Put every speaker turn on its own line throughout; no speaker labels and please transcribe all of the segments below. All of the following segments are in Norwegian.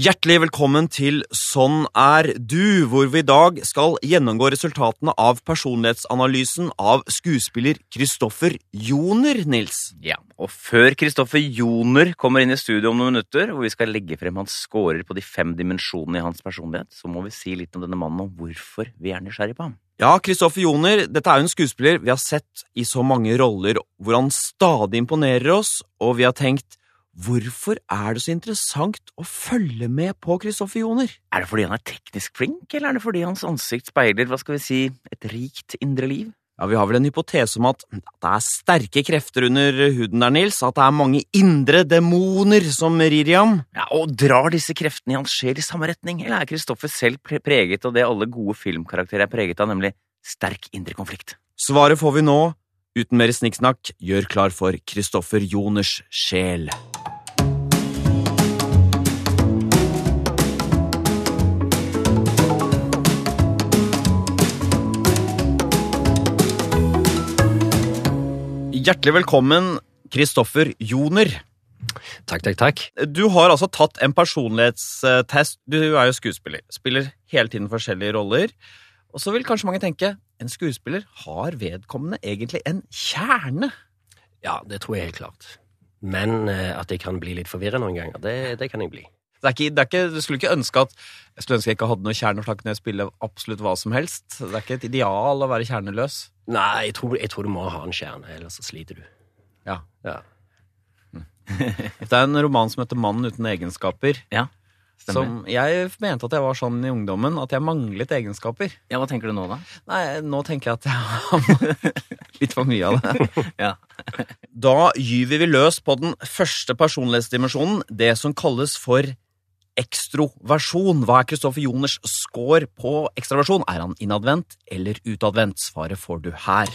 Hjertelig velkommen til Sånn er du, hvor vi i dag skal gjennomgå resultatene av personlighetsanalysen av skuespiller Kristoffer Joner, Nils.
Ja, og før Kristoffer Joner kommer inn i studio om noen minutter, hvor vi skal legge frem hans scorer på de fem dimensjonene i hans personlighet, så må vi si litt om denne mannen og hvorfor vi er nysgjerrig på ham.
Ja, Kristoffer Joner, dette er jo en skuespiller vi har sett i så mange roller hvor han stadig imponerer oss, og vi har tenkt Hvorfor er det så interessant å følge med på Kristoffer Joner?
Er det fordi han er teknisk flink, eller er det fordi hans ansikt speiler, hva skal vi si, et rikt indre liv?
Ja, Vi har vel en hypotese om at det er sterke krefter under huden der, Nils. At det er mange indre demoner som rir i ham.
Ja, og drar disse kreftene i hans sjel i samme retning, eller er Kristoffer selv pre- preget av det alle gode filmkarakterer er preget av, nemlig sterk indre konflikt?
Svaret får vi nå. Uten mer snikksnakk, gjør klar for Kristoffer Joners sjel. Hjertelig velkommen, Kristoffer Joner.
Takk, takk, takk.
Du har altså tatt en personlighetstest. Du er jo skuespiller. Spiller hele tiden forskjellige roller. Og så vil kanskje mange tenke en skuespiller har vedkommende egentlig en kjerne.
Ja, det tror jeg helt klart. Men eh, at jeg kan bli litt forvirra noen ganger, det, det kan jeg bli.
Det er ikke, det er ikke, du skulle ikke ønske at jeg skulle ønske jeg ikke hadde noe kjerne, for da kunne jeg spille absolutt hva som helst. Det er ikke et ideal å være kjerneløs.
Nei, jeg tror, jeg tror du må ha en kjerne, ellers så sliter du.
Ja. Mm.
Ja.
Det er en roman som heter 'Mannen uten egenskaper'.
Ja, stemmer.
Som jeg mente at jeg var sånn i ungdommen, at jeg manglet egenskaper.
Ja, hva tenker du nå, da?
Nei, nå tenker jeg at jeg har litt for mye av det.
Ja.
Da gyver vi løs på den første personlighetsdimensjonen, det som kalles for ekstroversjon. Hva er Kristoffer Joners score på ekstroversjon? Er han innadvendt eller utadvendt? Svaret får du her.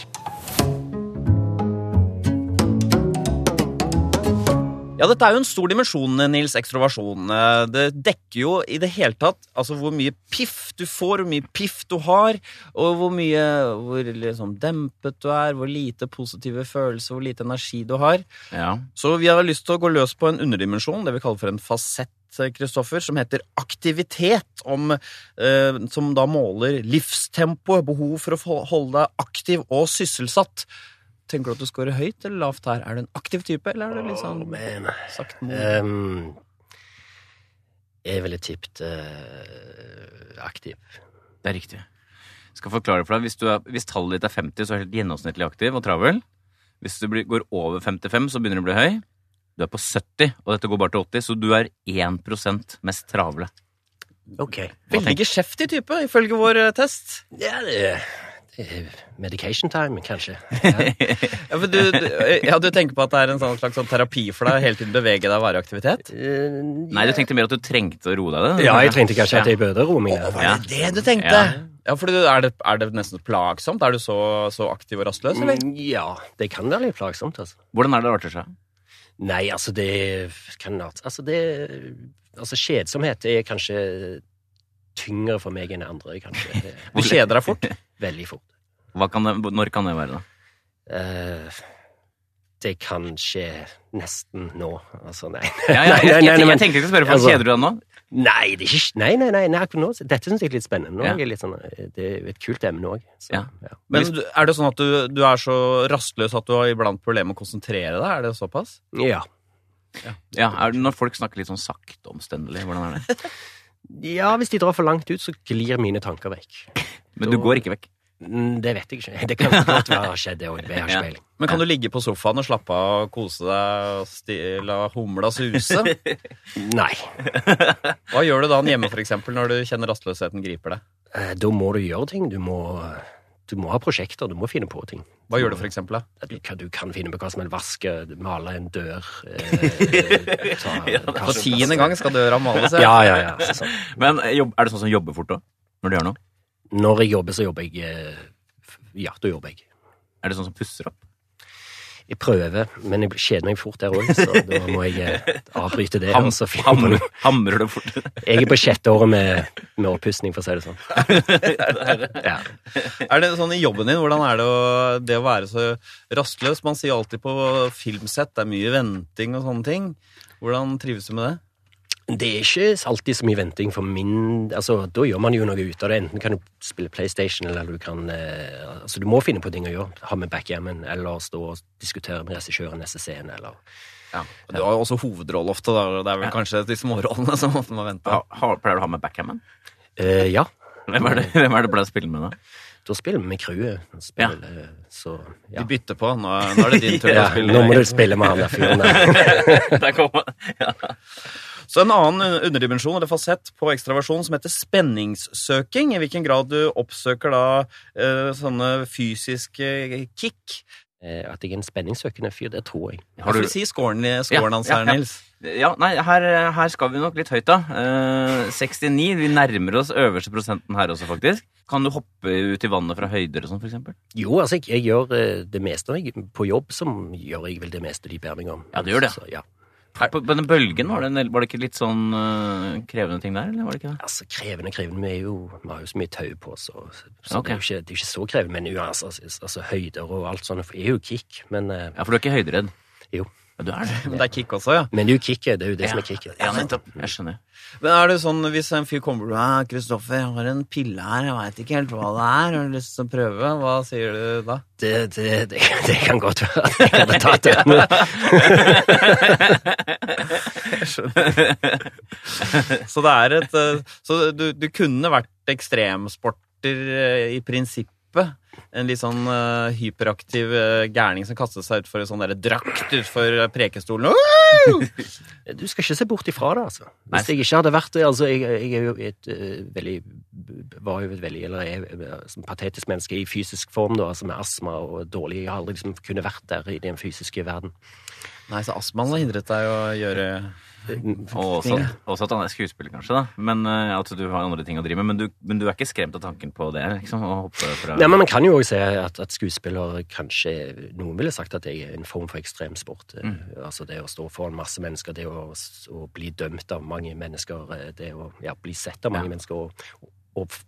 Ja, Dette er jo en stor dimensjon, Nils, ekstroversjon. Eh, Det dekker jo i det hele tatt altså hvor mye piff du får, hvor mye piff du har, og hvor mye hvor liksom dempet du er, hvor lite positive følelser, hvor lite energi du har.
ja.
Så vi har lyst til å gå løs på en underdimensjon, det vi kaller for en fasett, Kristoffer, som heter aktivitet, om, eh, som da måler livstempoet, behov for å få- holde deg aktiv og sysselsatt. Tenker du at du scorer høyt eller lavt her? Er du en aktiv type, eller er du litt
Oh,
sånn
man.
sakte mot?
Ehm, jeg ville tippet eh, aktiv.
Det er riktig. Jeg skal forklare for deg. Hvis, du er, hvis tallet ditt er 50, så er du helt gjennomsnittlig aktiv og travel. Hvis du blir, går over 55, så begynner du å bli høy. Du er på 70, og dette går bare til 80, så du er 1 mest travle.
Ok.
Veldig geskjeftig type, ifølge vår eh, test.
Ja, det, det er medication time, kanskje.
Ja, for du, du, ja, du tenker på at det er en sånn slags sånn terapi for deg, hele tiden bevege deg og være i aktivitet?
Nei, du tenkte mer at du trengte å roe deg?
Ja, jeg trengte kanskje at jeg bøde roe meg ned.
Var det det du tenkte? Ja,
Ja.
for du, er, det, er det nesten plagsomt? Er du så, så aktiv og rastløs, eller?
Mm, Ja, det kan være litt plagsomt, altså.
Hvordan er det det arter seg?
Nei, altså det kan alt- Altså det Altså kjedsomhet er kanskje tyngre for meg enn andre, kanskje. Det er
Du kjeder deg fort.
Veldig fort.
Hva kan det, når kan det være, da?
Eh, det kan skje nesten nå. Altså, nei.
Ja, ja, jeg,
Nei, nei,
jeg,
nei,
jeg,
men-
tenkte jeg skulle spørre, for
Altså-
Kjeder du deg nå?
Nei, det er ikke Nei, nei, nei. nei akkurat nå. Dette syns jeg er litt spennende. Nå
Ja.
er jeg litt sånn, eh, det er jo et kult emne òg.
Ja.
Men du- er det sånn at du, du er så rastløs at du har iblant problemer med å konsentrere deg? Er det såpass?
ja.
Ja, er, det når folk snakker litt sånn sakte omstendelig, hvordan er det?
Ja, hvis de drar for langt ut, så glir mine tanker vekk.
Men du går ikke vekk.
Mm, Det vet jeg ikke. Det kan godt være har skjedd, det òg. Jeg har
Ja.
ikke peiling.
Men kan du ligge på sofaen og slappe av og kose deg og sti- la humla suse?
Nei.
Hva gjør du da hjemme, for eksempel, når du kjenner rastløsheten griper deg?
Eh, Da må du gjøre ting. Du må, du må ha prosjekter, du må finne på ting.
Hva gjør du, for eksempel? da?
Du kan, du kan finne på hva som helst. Vaske, male en dør eh, ta,
For tiende gang skal døra males.
Ja, ja, ja. så Sånn.
Men eh, jobb, er det sånn som jobber fort òg? Når du gjør noe?
Når jeg jobber, så jobber jeg eh, f- Ja, da jobber jeg.
Er det sånn som pusser opp?
Jeg prøver, men jeg kjeder meg fort der òg, så da må jeg eh, avbryte det.
Ham,
og så finne på
hamrer,
noe.
hamrer du fort?
Jeg er på sjette året med, med oppussing, for å si det sånn. Ja.
Er det sånn i jobben din, hvordan er det å, det å være så rastløs? Man sier alltid på filmsett det er mye venting og sånne ting. Hvordan trives du med det?
Det er ikke alltid så mye venting for min Altså, Da gjør man jo noe ut av det. Enten kan du spille PlayStation, eller du kan eh, Altså, du må finne på ting å gjøre. Ha med backgammon, eller stå og diskutere med regissøren neste scene, eller
Ja. Du har jo også hovedrolle ofte, da. Det er vel kanskje de smårollene som ofte må vente.
Ha, ha, pleier du å ha med backhammen?
eh, Ja.
Hvem er det hvem er det du pleier å spille med, da?
Da spiller vi med crewet. Spiller, eh, Så ja.
De bytter på. Nå, er- nå er det din tur å
ja.
spille.
Nå må du spille med han der fyren der.
Der kom han. Ja.
Så en annen underdimensjon eller fasett på ekstraversjon som heter spenningssøking. I hvilken grad du oppsøker da eh, sånne fysiske kick.
Eh, At jeg er en spenningssøkende fyr, det tror jeg.
Hva
Har du-
skal vi si scoren, i- scoren hans
Ja,
her,
ja, ja.
Nils?
Ja, nei, her, her skal vi nok litt høyt, da. Eh, 69. Vi nærmer oss øverste prosenten her også, faktisk. Kan du hoppe ut i vannet fra høyder og sånn, for eksempel?
Jo, altså, jeg, jeg gjør eh, det meste når jeg, på jobb, som gjør jeg vel det meste de ber meg om.
Ja, du gjør det.
Så, ja.
På, på den bølgen, var det, en del- var det ikke litt sånn eh, krevende ting der, eller var det ikke det?
Altså, krevende, krevende. Vi, er jo, vi har jo så mye tau på oss, og- så
Ok.
det, er jo ikke, det er jo ikke så krevende. Men jo, altså, altså, altså, høyder og alt sånt er jo kick. Men, eh,
Ja, for du er ikke høyderedd?
Jo.
Ja, du er det.
Men det er kick også, ja.
men det er jo kicket. Det er jo det som er kicket.
Ja, nettopp. Jeg skjønner.
Men er det sånn hvis en fyr kommer til deg «Ah, 'Kristoffer, jeg har en pille her, jeg veit ikke helt hva det er, har du lyst til å prøve?' Hva sier du da?
Det, det, det, det kan godt være at jeg hadde tatt det. Men,
Så det er et eh, Så du, du kunne vært ekstremsporter eh, i prinsippet. En litt sånn eh, hyperaktiv eh, gærning som kastet seg utfor sånne der drakter for prekestolen. Woo!
Du skal ikke se bort ifra det, altså.
Nei.
Hvis jeg ikke hadde vært det altså, jeg, jeg er jo et eh, veldig Var jo et veldig Eller er eh, som patetisk menneske i fysisk form, da, altså med astma og dårlig Jeg har aldri liksom kunne vært der i den fysiske verden.
Nei, så astmaen har hindret deg å gjøre
Og også, også at han er skuespiller, kanskje. da Men eh, at du har andre ting å drive med. Men du, men du er ikke skremt av tanken på det? liksom Å hoppe fra
Nei, men Man kan jo også se at, at skuespiller kanskje Noen ville sagt at jeg er en form for ekstremsport. eh,
Mm.
Altså det å stå foran masse mennesker, det å, s- å bli dømt av mange mennesker, eh, det å ja, bli sett av mange
Ja.
mennesker og, og f-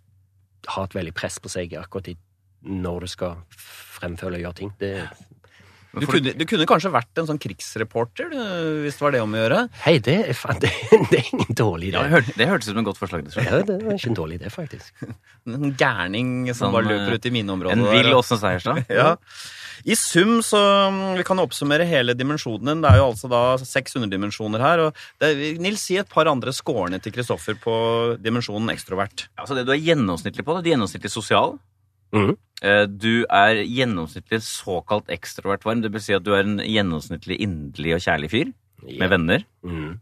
ha et veldig press på seg akkurat i når du skal fremføre og gjøre ting. Det,
du kunne, du kunne kanskje vært en sånn krigsreporter, du, hvis det var det om å gjøre.
hei, det er, faen, det, det er ingen dårlig
ja, jeg
idé.
hørte, Det hørtes ut som et godt forslag. Dessverre.
Ja, det er ikke en dårlig idé, faktisk.
En gærning som
Sånn,
bare
eh,
løper ut i mineområdet.
En
der,
vill
og-
Åsne Seierstad.
Ja. I sum så mm, Vi kan oppsummere hele dimensjonen. Det er jo altså da seks underdimensjoner her. Og det, Nils, si et par andre scorene til Kristoffer på dimensjonen ekstrovert.
Altså det du er gjennomsnittlig på, det er gjennomsnittlig sosial.
Mhm.
Eh, Du er gjennomsnittlig såkalt ekstrovert varm. Det vil si at du er en gjennomsnittlig inderlig og kjærlig fyr med venner.
Mm.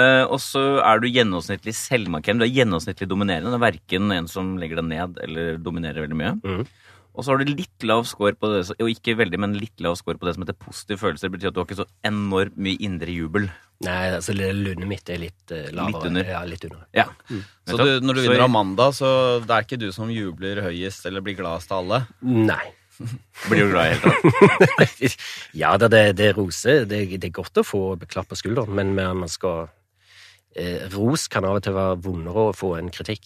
Eh, Og så er du gjennomsnittlig selvmarkerende. Du er gjennomsnittlig dominerende. Det er verken en som legger deg ned eller dominerer veldig mye.
Mhm.
Og så har du litt lav score på det, og ikke veldig, men litt lav score på det som heter positive følelser. Det betyr at du har ikke så enormt mye indre jubel.
Nei, altså lundet mitt er litt eh, lavere.
Litt under.
Ja, litt under.
Ja.
Så
Mm. Nettopp.
du, når du
Så-
vinner Amanda, så det er ikke du som jubler høyest eller blir gladest av alle.
Nei.
Blir du glad i hele tatt.
Ja da, det, det er rose. Det, det er godt å få klapp på skulderen, men men man skal eh, Ros kan av og til være vondere å få enn kritikk.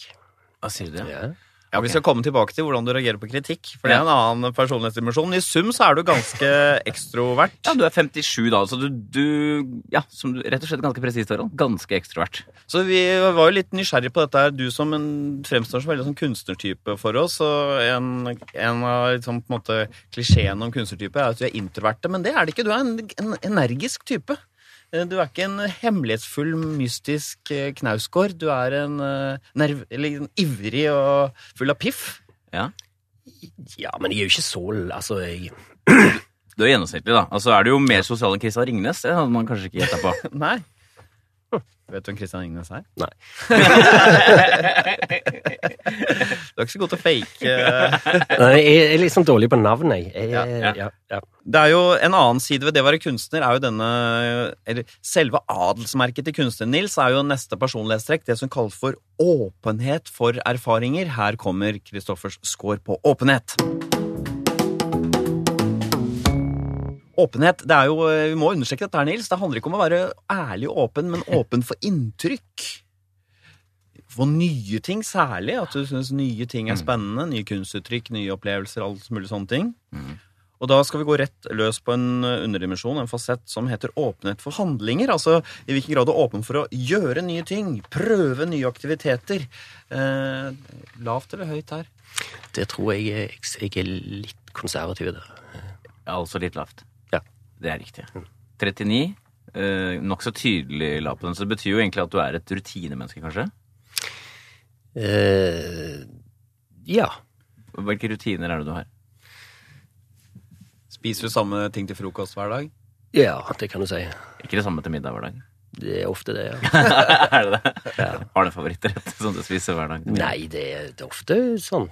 Hva sier du?
Ja.
Ja, Vi skal komme tilbake til hvordan du reagerer på kritikk, for det
Ja.
er en annen personlighetsdimensjon. I sum så er du ganske ekstrovert.
Ja, du er 57 da, så du, du ja, som du, rett og slett ganske presist, Harald. Ganske ekstrovert.
Så vi var jo litt nysgjerrig på dette her. Du som en, fremstår som veldig sånn kunstnertype for oss, og en, en av liksom, på en måte, klisjeen om kunstnertype er at du er introverte, men det er det ikke. Du er en, en energisk type. Eh, Du er ikke en hemmelighetsfull, mystisk eh, knausgård. Du er en, eh, nerv, eller, en ivrig og full av piff.
ja, men jeg er jo ikke så l- Altså, jeg
Du er gjennomsnittlig, da. Altså er du jo mer sosial enn Kristian Ringnes. Det hadde man kanskje ikke gjetta på.
Nei. Vet du hvem Christian Ingnes er?
Nei.
Du er ikke så god til å fake eh,
Nei, jeg er liksom dårlig på navn, jeg. jeg
Ja,
ja.
Ja, ja.
Det er jo En annen side ved det å være kunstner er jo denne eller Selve adelsmerket til kunstner Nils er jo neste personlighetstrekk, det som kalles for åpenhet for erfaringer. Her kommer Christoffers score på åpenhet. Åpenhet, det er jo, Vi må understreke dette, her, Nils. Det handler ikke om å være ærlig og åpen, men åpen for inntrykk. For nye ting særlig. At du syns nye ting er spennende. Nye kunstuttrykk, nye opplevelser, alt mulig sånne ting. Og da skal vi gå rett løs på en eh, underdimensjon, en fasett som heter åpenhet for handlinger. Altså i hvilken grad du er åpen for å gjøre nye ting, prøve nye aktiviteter. Eh, lavt eller høyt her?
Det tror jeg er- jeg, jeg er litt konservativ der.
Ja, altså litt lavt.
Ja.
Det er riktig. 39. Eh, Nokså tydelig lav på den, så det betyr jo egentlig at du er et rutinemenneske, kanskje?
Eh, ja.
Hvilke rutiner er det du har?
Spiser du samme ting til frokost hver dag?
Ja, det kan du si.
Ikke det samme til middag hver dag.
Det er ofte det, ja.
er det det? Har du en favorittrett som du spiser hver dag? til middag?
Nei, det er, det er ofte sånn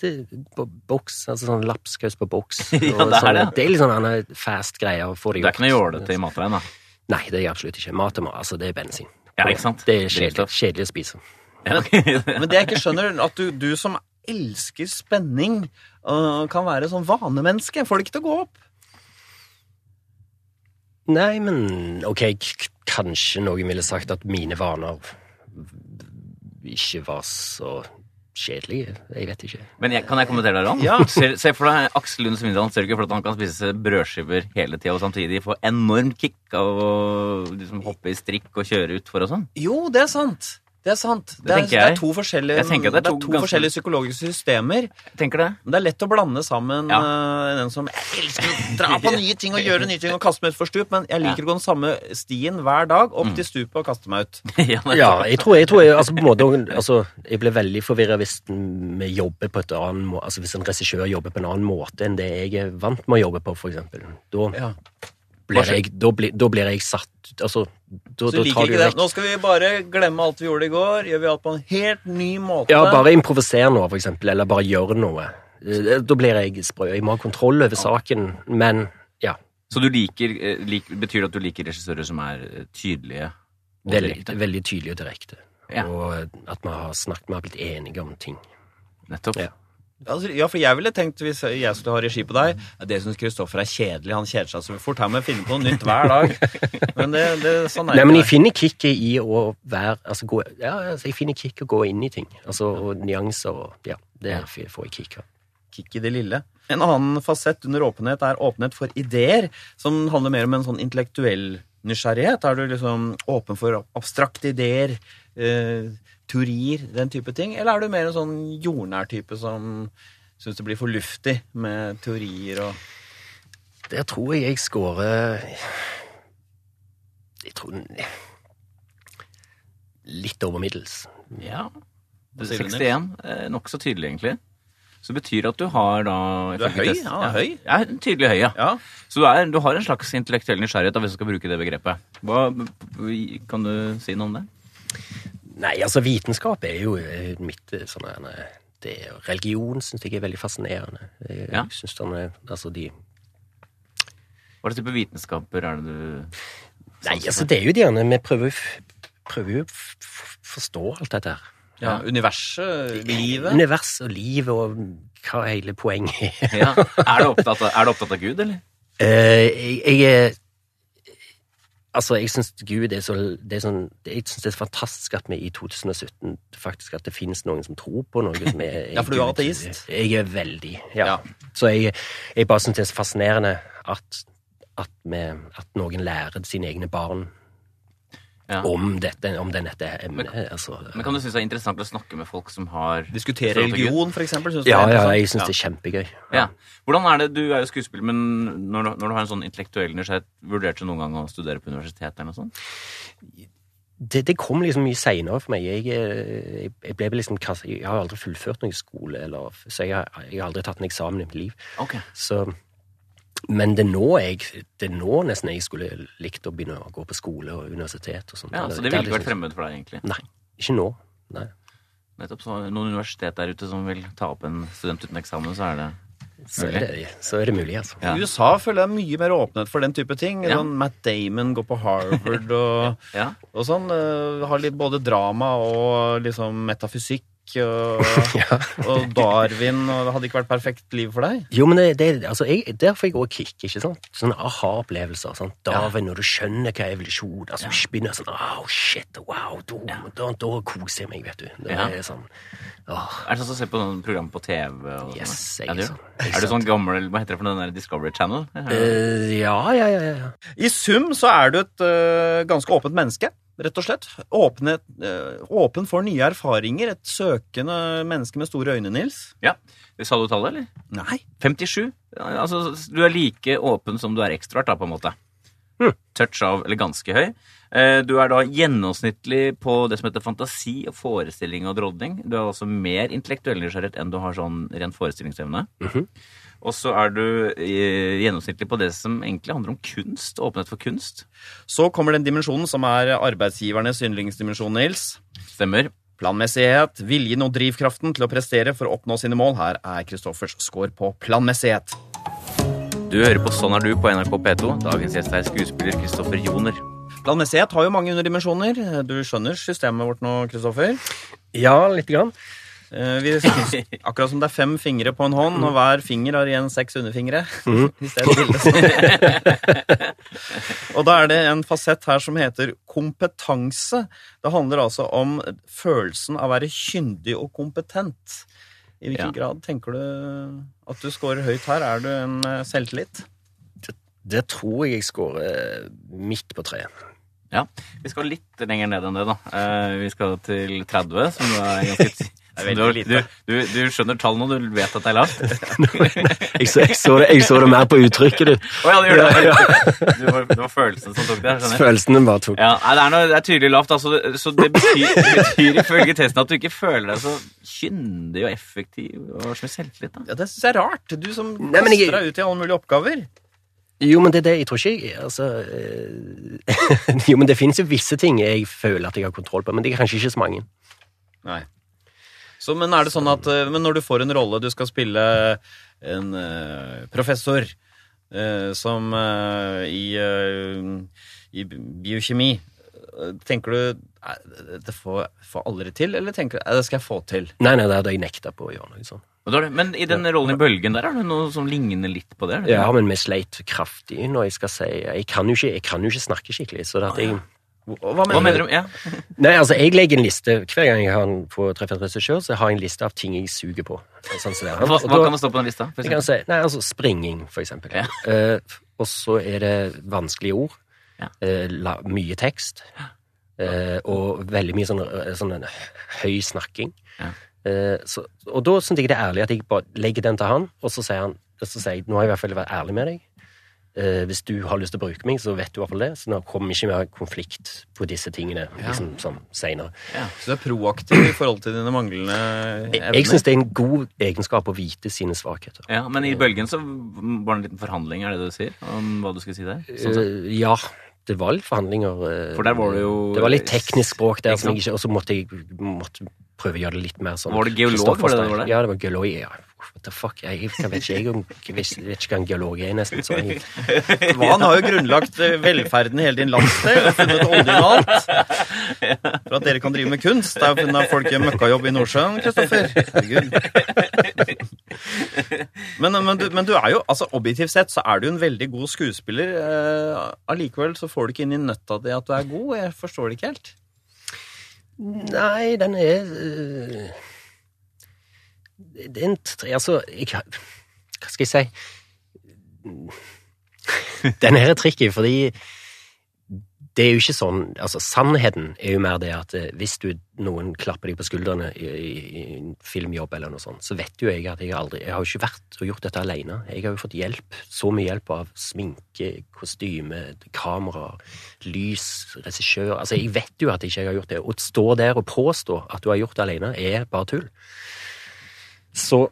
det, på boks, altså sånn lapskaus på boks.
Ja,
og
det er
sånn,
det.
er litt sånn annen fast greie å få det
Du er
gjort.
ikke noe jålete i matveien, da?
Nei, det er jeg absolutt ikke. Mat er mat. Altså, det er bensin.
Ja, ikke sant?
Det er kjedelig,
Drivstoff.
kjedelig å spise.
Ja, ok.
Men det jeg ikke skjønner, er at du, du som elsker spenning, øh, kan være sånn vanemenneske. Får det ikke til å gå opp.
Nei, men ok, k- kanskje noen ville sagt at mine vaner ikke var så kjedelige. Jeg vet ikke.
Men jeg, kan jeg kommentere deg, Ron?
Ja.
Se, se for deg Aksel Lund Svindal. Ser du ikke for deg at han kan spise brødskiver hele tida og samtidig få enormt kick av å liksom, hoppe i strikk og kjøre utfor og sånn?
Jo, det er sant. Det er sant. Det, er,
tenker
det
jeg.
er to forskjellige,
Jeg tenker at det er to ganske-
forskjellige psykologiske systemer.
Jeg Tenker det.
Men det er lett å blande sammen
Ja.
øh, den som jeg elsker å dra på nye ting og gjøre nye ting og kaste meg utfor stup, men jeg liker å gå den samme stien hver dag, opp
Mm.
til stupet og kaste meg ut.
ja, men-
Ja, jeg tror jeg, tror jeg altså på en måte, altså, Jeg blir veldig forvirra hvis en vi jobber på et annet må- altså hvis en regissør jobber på en annen måte enn det jeg er vant med å jobbe på, for eksempel. Da
Ja.
blir jeg, da blir, da blir jeg satt altså, da,
Så
da
du
tar
liker
du
ikke det.
vekk
Nå skal vi bare glemme alt vi gjorde i går. Gjør vi alt på en helt ny måte.
Ja, bare improviser noe, for eksempel, eller bare gjør noe. Eh, Da blir jeg sprø. Jeg må ha kontroll over saken, men ja.
Så du liker, eh, lik, betyr det at du liker regissører som er eh, tydelige? og
Veldig,
direkte?
veldig tydelig og direkte.
Ja.
Og at vi har snakket, vi har blitt enige om ting.
Nettopp.
Ja.
Altså, ja, for jeg ville tenkt, hvis jeg skulle ha regi på deg ja, Det syns Kristoffer er kjedelig. Han kjeder seg så fort. Her må jeg finne på noe nytt hver dag. Men det, det sånn er
Nei, men jeg
det.
finner kicket i å være altså, gå, ja, altså, Jeg finner kick å gå inn i ting. Altså og nyanser og Ja, det f- får jeg kick av.
Kick i det lille. En annen fasett under åpenhet er åpenhet for ideer, som handler mer om en sånn intellektuell nysgjerrighet. Er du liksom åpen for abstrakte ideer, eh, teorier, den type ting? Eller er du mer en sånn jordnær type som syns det blir for luftig med teorier og
Der tror jeg jeg scorer Jeg tror den- Litt over middels.
Ja.
Hva sier du,
61. eh, Nokså tydelig, egentlig. Så det betyr at du har da
Du er høy,
test-
ja, høy.
Ja, tydelig høy, ja.
Ja.
Så du, er, du har en slags intellektuell nysgjerrighet, da, hvis du skal bruke det begrepet. Hva, kan du si noe om det?
Nei, altså, vitenskap er jo eh, mitt eh, sånn her, nei, det, er- Religion syns jeg er veldig fascinerende. Eh, Jeg
Ja.
synes den er, altså, de
Hva slags type vitenskaper er det du
Nei, altså det er jo de gjerne Vi prøver, f- prøver jo å f- f- forstå alt dette her.
ja. Universet, livet.
Univers og liv og hva hele poenget er.
ja. er, du opptatt av, er du opptatt av Gud, eller?
Eh, jeg, jeg er Altså, jeg syns Gud er så det er sånn, Jeg syns det er fantastisk at vi i 2017 faktisk at det finnes noen som tror på noe som er
Ja, for du er
Gud.
ateist.
Jeg er veldig, ja.
Ja.
Så jeg, jeg bare syns det er så fascinerende at, at, vi, at noen lærer sine egne barn
Ja.
om dette, om den- dette emnet. altså.
Men kan du synes det er interessant å snakke med folk som har
Diskutere
forhold til Gud?
religion, for eksempel. synes du
Ja,
det er
ja,
interessant?
jeg syns det er kjempegøy.
Ja. Hvordan er det, Du er jo skuespiller, men når du, når du har en sånn intellektuell nysgjerrighet, vurderte du noen gang å studere på universitet eller noe sånt?
det, det kom liksom mye seinere for meg. Jeg, eh, jeg, jeg ble liksom kastet, Jeg har aldri fullført noen skole, eller, så jeg har, jeg har aldri tatt en eksamen i mitt liv.
Ok.
Så, men det er nå jeg det er nå nesten jeg skulle likt å begynne å gå på skole og universitet og sånt.
Ja,
Eller-
Så det
er
ville ikke vært
liksom-
fremmed for deg, egentlig?
Nei. Ikke nå. Nei.
Nettopp, så Noen universitet der ute som vil ta opp en student uten eksamen, så er det
Så er det, så er det mulig, altså.
Ja.
USA føler jeg er mye mer åpenhet for den type ting.
Ja.
Sånn Matt Damon går på Harvard og,
Ja.
og sånn. eh, har litt både drama og liksom metafysikk Kik og,
Ja.
og Darwin, og det hadde ikke vært perfekt liv for deg?
Jo, men det, det, altså jeg, der får jeg òg kick. ikke sant? Sånne aha-opplevelser. sant? Darwin, når du skjønner hva evolusjon altså du begynner sånn, oh, shit, wow, da, da, da koser jeg meg, vet du. Da
Ja.
er det sånn, åh,
Er det sånn som å se på sånn program på TV? Og sånn?
Yes, jeg
ja,
er
du gjør
sånn.
det. Er du sånn gammel Hva heter det for noe, den der Discovery Channel?
eh, ja, ja, ja, ja.
I sum så er du et øh, ganske åpent menneske, rett og slett. Åpne, øh, åpen for nye erfaringer. Et søkende menneske med store øyne, Nils.
Ja. Sa du tallet, eller?
Nei.
57. Ja, Altså, du er like åpen som du er ekstrovert, da, på en måte.
Hm.
Touch av, eller ganske høy. Eh, Du er da gjennomsnittlig på det som heter fantasi, og forestilling og drodning. Du er altså mer intellektuell nysgjerrighet enn du har sånn ren forestillingsevne. Og så er du eh, gjennomsnittlig på det som egentlig handler om kunst, åpenhet for kunst.
Så kommer den dimensjonen som er arbeidsgivernes yndlingsdimensjon, Nils.
Stemmer.
Planmessighet, viljen og drivkraften til å prestere for å oppnå sine mål. Her er Kristoffers score på planmessighet.
Du hører på Sånn er du på NRK P2. Dagens gjest er skuespiller Kristoffer Joner.
Planmessighet har jo mange underdimensjoner. Du skjønner systemet vårt nå, Kristoffer.
Ja, litt grann.
Eh, Vi synes, akkurat som det er fem fingre på en hånd, og hver finger har igjen seks underfingre. Hvis det er et bilde. og da er det en fasett her som heter kompetanse. Det handler altså om følelsen av å være kyndig og kompetent. I hvilken
Ja.
grad tenker du at du scorer høyt her? Er du en eh, selvtillit?
Det tror jeg jeg scorer eh, midt på treet.
Ja, Vi skal litt lenger ned enn det, da. Eh, vi skal til 30, som du er ganske
veldig
du, har-
lite.
du, du, du skjønner tall nå, du vet at det er lavt? Å
Jeg så, jeg så, det, jeg så det mer på uttrykket ditt.
ja, det gjør det! Du, var- det var følelsen som tok det. jeg skjønner.
Følelsene bare tok
Ja, nei, det, er noe, det er tydelig lavt, altså, det- så det betyr, det betyr ifølge testen at du ikke føler deg så kyndig og effektiv og som selvtillit. da.
Ja, Det syns jeg er rart. Du som
Nei, men jeg-
kaster deg ut i alle mulige oppgaver.
Jo, men det er det jeg tror ikke jeg altså, eh, Jo, men det finnes jo visse ting jeg føler at jeg har kontroll på, men det er kanskje ikke så mange.
Nei. Så, men er det sånn at eh, men når du får en rolle, du skal spille en eh, professor eh, som eh, i, eh, i biokjemi eh, Tenker du "Nei, dette får, får aldri til, eller tenker du "Nei, det skal jeg få til?
Nei, nei, det hadde jeg nekta på å gjøre noe sånt.
Men da er det- Men i den rollen i bølgen der, er det noe som ligner litt på det? er det?
Ja, men vi sleit kraftig når jeg skal si Jeg kan jo ikke, jeg kan jo ikke snakke skikkelig, så det at jeg
Hva hva
Hva
mener du?
mener du? Ja.
Nei, altså, jeg legger en liste Hver gang jeg har en på Treff en regissør, så har jeg en liste av ting jeg suger på. Sånn som det er.
Hva,
Og
hva
da-
kan det stå på den lista? for
jeg kan
eksempel?
si, nei, altså springing, for eksempel.
Ja.
Eh, og så er det vanskelige ord.
Ja.
Eh, la, mye tekst. Eh, og veldig mye sånn, eh, sånn en høy snakking.
Ja.
Eh, så, og da syns jeg det er ærlig at jeg bare legger den til han, og så sier han og så sier jeg, nå har jeg i hvert fall vært ærlig med deg. Eh, hvis du har lyst til å bruke meg, så vet du i hvert fall det. Så nå kommer ikke mer konflikt på disse tingene liksom, sånn senere.
Så du er proaktiv i forhold til dine manglende
Jeg, jeg syns
evner?
det er en god egenskap å vite sine svakheter.
Ja, Men i bølgen så var det en liten forhandling, er det det du sier? Om hva du skulle si der? Sånn sett.
Eh, ja, det var litt forhandlinger. eh,
For der var det jo- eh,
Det var litt teknisk språk der,
Ikke
som
sant?
jeg ikke, og så måtte jeg måtte prøve å gjøre det litt mer sånn.
Var det geolog,
Kristoffer
var det det
Stein.
var det?
Ja, det var geolog. Ja. What the fuck? Jeg, jeg vet ikke jeg, om- jeg vet vet ikke hva en geolog er, nesten. Så jeg,
Han har jo grunnlagt eh, velferden i hele din landsdel og funnet oljen og alt. For at dere kan drive med kunst. Der finner folk en møkkajobb i Nordsjøen, Kristoffer. Herregud. Men, men, du, men du er jo, altså objektivt sett, så er du en veldig god skuespiller. Eh, allikevel så får du ikke inn i nøtta di at du er god. Jeg forstår det ikke helt.
Nei, den er øh, Det er en t- Altså, jeg har- Hva skal jeg si? Den her er tricky, fordi det er jo ikke sånn altså Sannheten er jo mer det at eh, hvis du, noen klapper deg på skuldrene i, i, i en filmjobb, eller noe sånt, så vet jo jeg at jeg aldri Jeg har jo ikke vært og gjort dette alene. Jeg har jo fått hjelp. Så mye hjelp av sminke, kostyme, kamera, lys, regissør Altså, jeg vet jo at ikke jeg har gjort det. Å stå der og påstå at du har gjort det alene, er bare tull. Så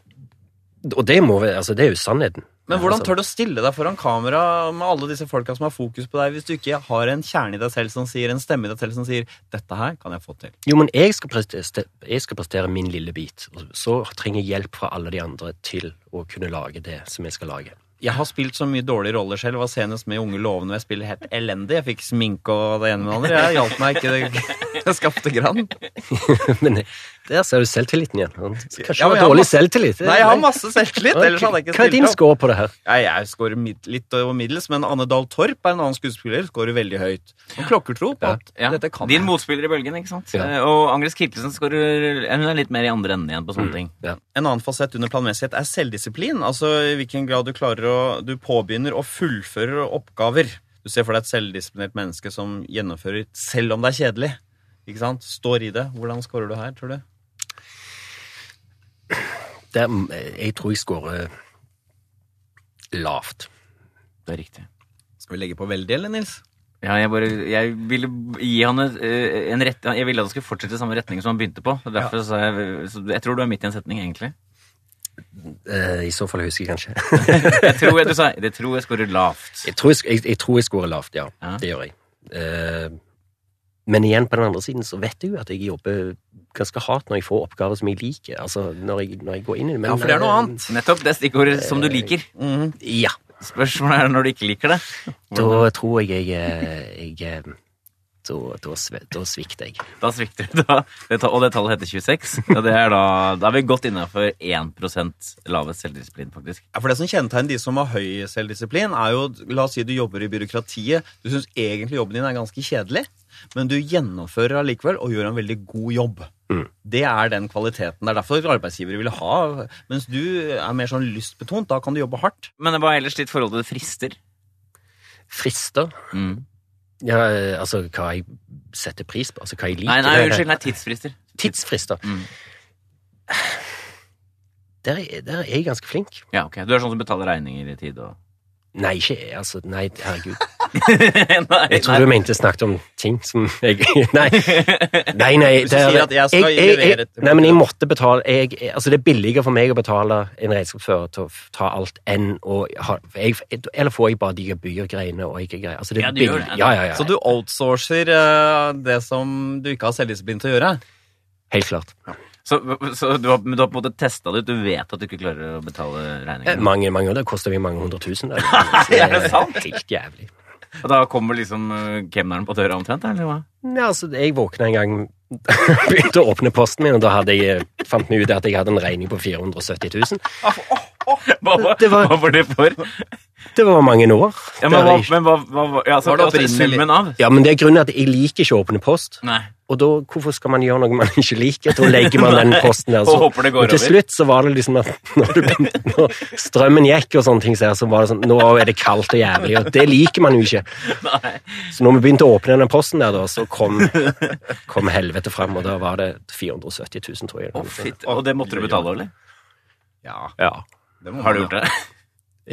Og det må være Altså, det er jo sannheten. Altså,
Men hvordan tør du å stille deg foran kamera med alle disse folka som har fokus på deg, hvis du ikke har en kjerne i deg selv som sier, en stemme i deg selv som sier 'dette her kan jeg få til'?
Jo, men jeg skal, prestere, jeg skal prestere min lille bit. Så trenger jeg hjelp fra alle de andre til å kunne lage det som jeg skal lage.
Jeg har spilt så mye dårlige roller selv. Jeg var senest med i Unge lovende. og Jeg spiller helt elendig. Jeg fikk sminke og det ene med det andre. Jeg hjalp meg ikke. Det, jeg skapte grann.
Men jeg, Der ser du selvtilliten igjen. Han skal ikke
Ja, men
ha
jeg har
dårlig
masse-
selvtillit. Det-
Nei, jeg har masse selvtillit.
Ok,
ellers hadde jeg ikke
Hva er din
stilt opp.
score på det her?
Nei, jeg scorer mid litt over middels, men Anne Dahl Torp er en annen skuespiller. Scorer veldig høyt. Og klokkertro på
Ja.
at
Ja.
dette kan
Din motspiller i bølgen, ikke sant?
Ja.
Eh, Og Angres Kittelsen skårer Hun er litt mer i andre enden igjen på
Mm.
sånne ting.
En annen fasett under planmessighet er selvdisiplin. Altså i hvilken grad du klarer å Du påbegynner og fullfører oppgaver. Du ser for deg et selvdisiplinert menneske som gjennomfører selv om det er kjedelig. Ikke sant? Står i det. Hvordan scorer du her, tror du?
Der, mm, eh, jeg tror jeg scorer lavt.
Det er riktig.
Skal vi legge på veldig, eller, Nils?
Ja, jeg bare Jeg ville gi han et, eh, en rett Jeg ville at han skulle fortsette i samme retning som han begynte på. Det er Derfor sa jeg så Jeg tror du er midt i en setning, egentlig.
Eh, I så fall husker jeg kanskje.
Jeg tror jeg, du sa Det tror jeg scorer lavt.
Jeg tror jeg, jeg, jeg, tror jeg scorer lavt, ja.
Ja.
Det gjør jeg. Eh, men igjen, på den andre siden så vet jeg jo at jeg jobber ganske hardt når jeg får oppgaver som jeg liker. Altså, når jeg, når jeg går inn i det. men,
Ja, for det er noe
eh,
annet.
Nettopp. Det er stikkordet som du liker.
Mhm.
Ja.
Spørsmålet er når du ikke liker det.
Da tror jeg jeg, jeg eh, da, da, sve- da svikter jeg.
Da svikter du. Da. Det, ta- og det tallet heter 26. Og det er da, da er vi godt innafor 1 lavest selvdisiplin, faktisk.
Ja, for Det som kjennetegner de som har høy selvdisiplin, er jo La oss si du jobber i byråkratiet. Du syns egentlig jobben din er ganske kjedelig, men du gjennomfører allikevel og gjør en veldig god jobb. Det er den kvaliteten. Det er derfor arbeidsgivere vil ha. Mens du er mer sånn lystbetont. Da kan du jobbe hardt.
Men hva er ellers ditt forhold til det frister?
Frister?
Mm.
Ja, eh, altså hva jeg setter pris på. Altså hva jeg liker.
Nei, nei, unnskyld. Nei, tidsfrister.
Tidsfrister.
Mm.
Der, er- der er jeg ganske flink.
Ja, ok. Du er sånn som betaler regninger i tid og
Nei, ikke jeg, altså. Nei, herregud.
Nei,
Jeg tror du mente snakket om ting som jeg Nei, nei. nei
Hvis du
der-
sier at jeg skal levere et-
Nei, men jeg måtte betale jeg, Altså, det er billigere for meg å betale en regnskapsfører til å f- ta alt enn å ha jeg, Eller får jeg bare de gebyrgreiene og ikke greier. Altså, det er
Ja, du gjør
billig-
det.
Ja, ja, ja.
Så du outsourcer eh, det som du ikke har selvdisiplin til å gjøre.
Helt klart.
Så, så du, har, men du har på en måte testa det ut? Du vet at du ikke klarer å betale regningen?
Mange, mange år. Det koster vi mange hundre tusen. da. Så
er det sant?
Helt jævlig.
Og da kommer liksom eh, kemneren på døra omtrent, eller hva?
Nei, altså, jeg våkna en gang Begynte å åpne posten min, og da hadde jeg, fant vi ut at jeg hadde en regning på 470 000.
Hva, hva,
Det var-
hva var det for?
Det var mange år.
Ja, men
Der
hva,
jeg-
men hva, hva, hva ja, så,
Var det
altså,
opprinnelig?
Summen av?
Ja, men det er grunnen at jeg liker ikke å åpne post.
Nei.
Og da, hvorfor skal man gjøre noe man ikke liker? Da legger man den posten der.
Og håper det går
og til
over.
slutt så var det liksom at når, du begynte, når strømmen gikk og sånne ting, så, her, så var det sånn Nå er det kaldt og jævlig, og det liker man jo ikke.
Nei.
Så når vi begynte å åpne den posten der, da, så kom, kom helvete fram, og da var det 470 000, tror jeg.
Å, fitt. Og det måtte du betale, eller?
Ja,
Ja.
det må
Har du
man,
gjort det?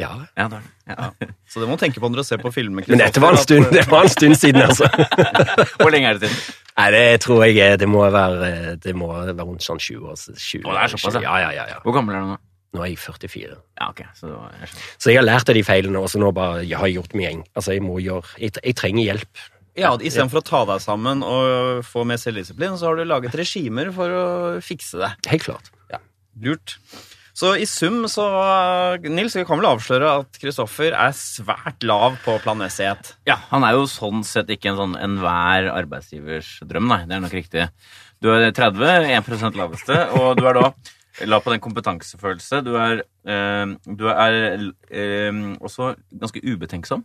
ja.
Ja, det har du. Ja.
ja. Så det må du tenke på når du ser på filmer.
Men dette var en
Kristoffer,
stund,
at, eh,
det var en stund siden, altså.
Hvor lenge er det siden?
Nei, det tror jeg er- det må være, eh, det må være rundt sånn 20 år. 20,
Å, det er såpass, ja.
ja. Ja, ja, ja.
Hvor gammel er du nå?
Nå er jeg 44.
Ja, ok. Så det var, jeg skjønner.
Så jeg har lært av de feilene, og så nå bare jeg har jeg gjort min gjeng. Altså, jeg må gjøre Jeg, tre- jeg trenger hjelp.
Ja, Istedenfor å ta deg sammen og få mer selvdisiplin, så har du laget regimer for å fikse det.
Helt klart.
Lurt. Så i sum så Nils, vi kan vel avsløre at Kristoffer er svært lav på planmessighet.
ja, han er jo sånn sett ikke en sånn enhver arbeidsgivers drøm, nei. Det er nok riktig. Du er 30, 1 laveste, og du er da lav på den kompetansefølelse. Du er, eh, du er eh, også ganske ubetenksom.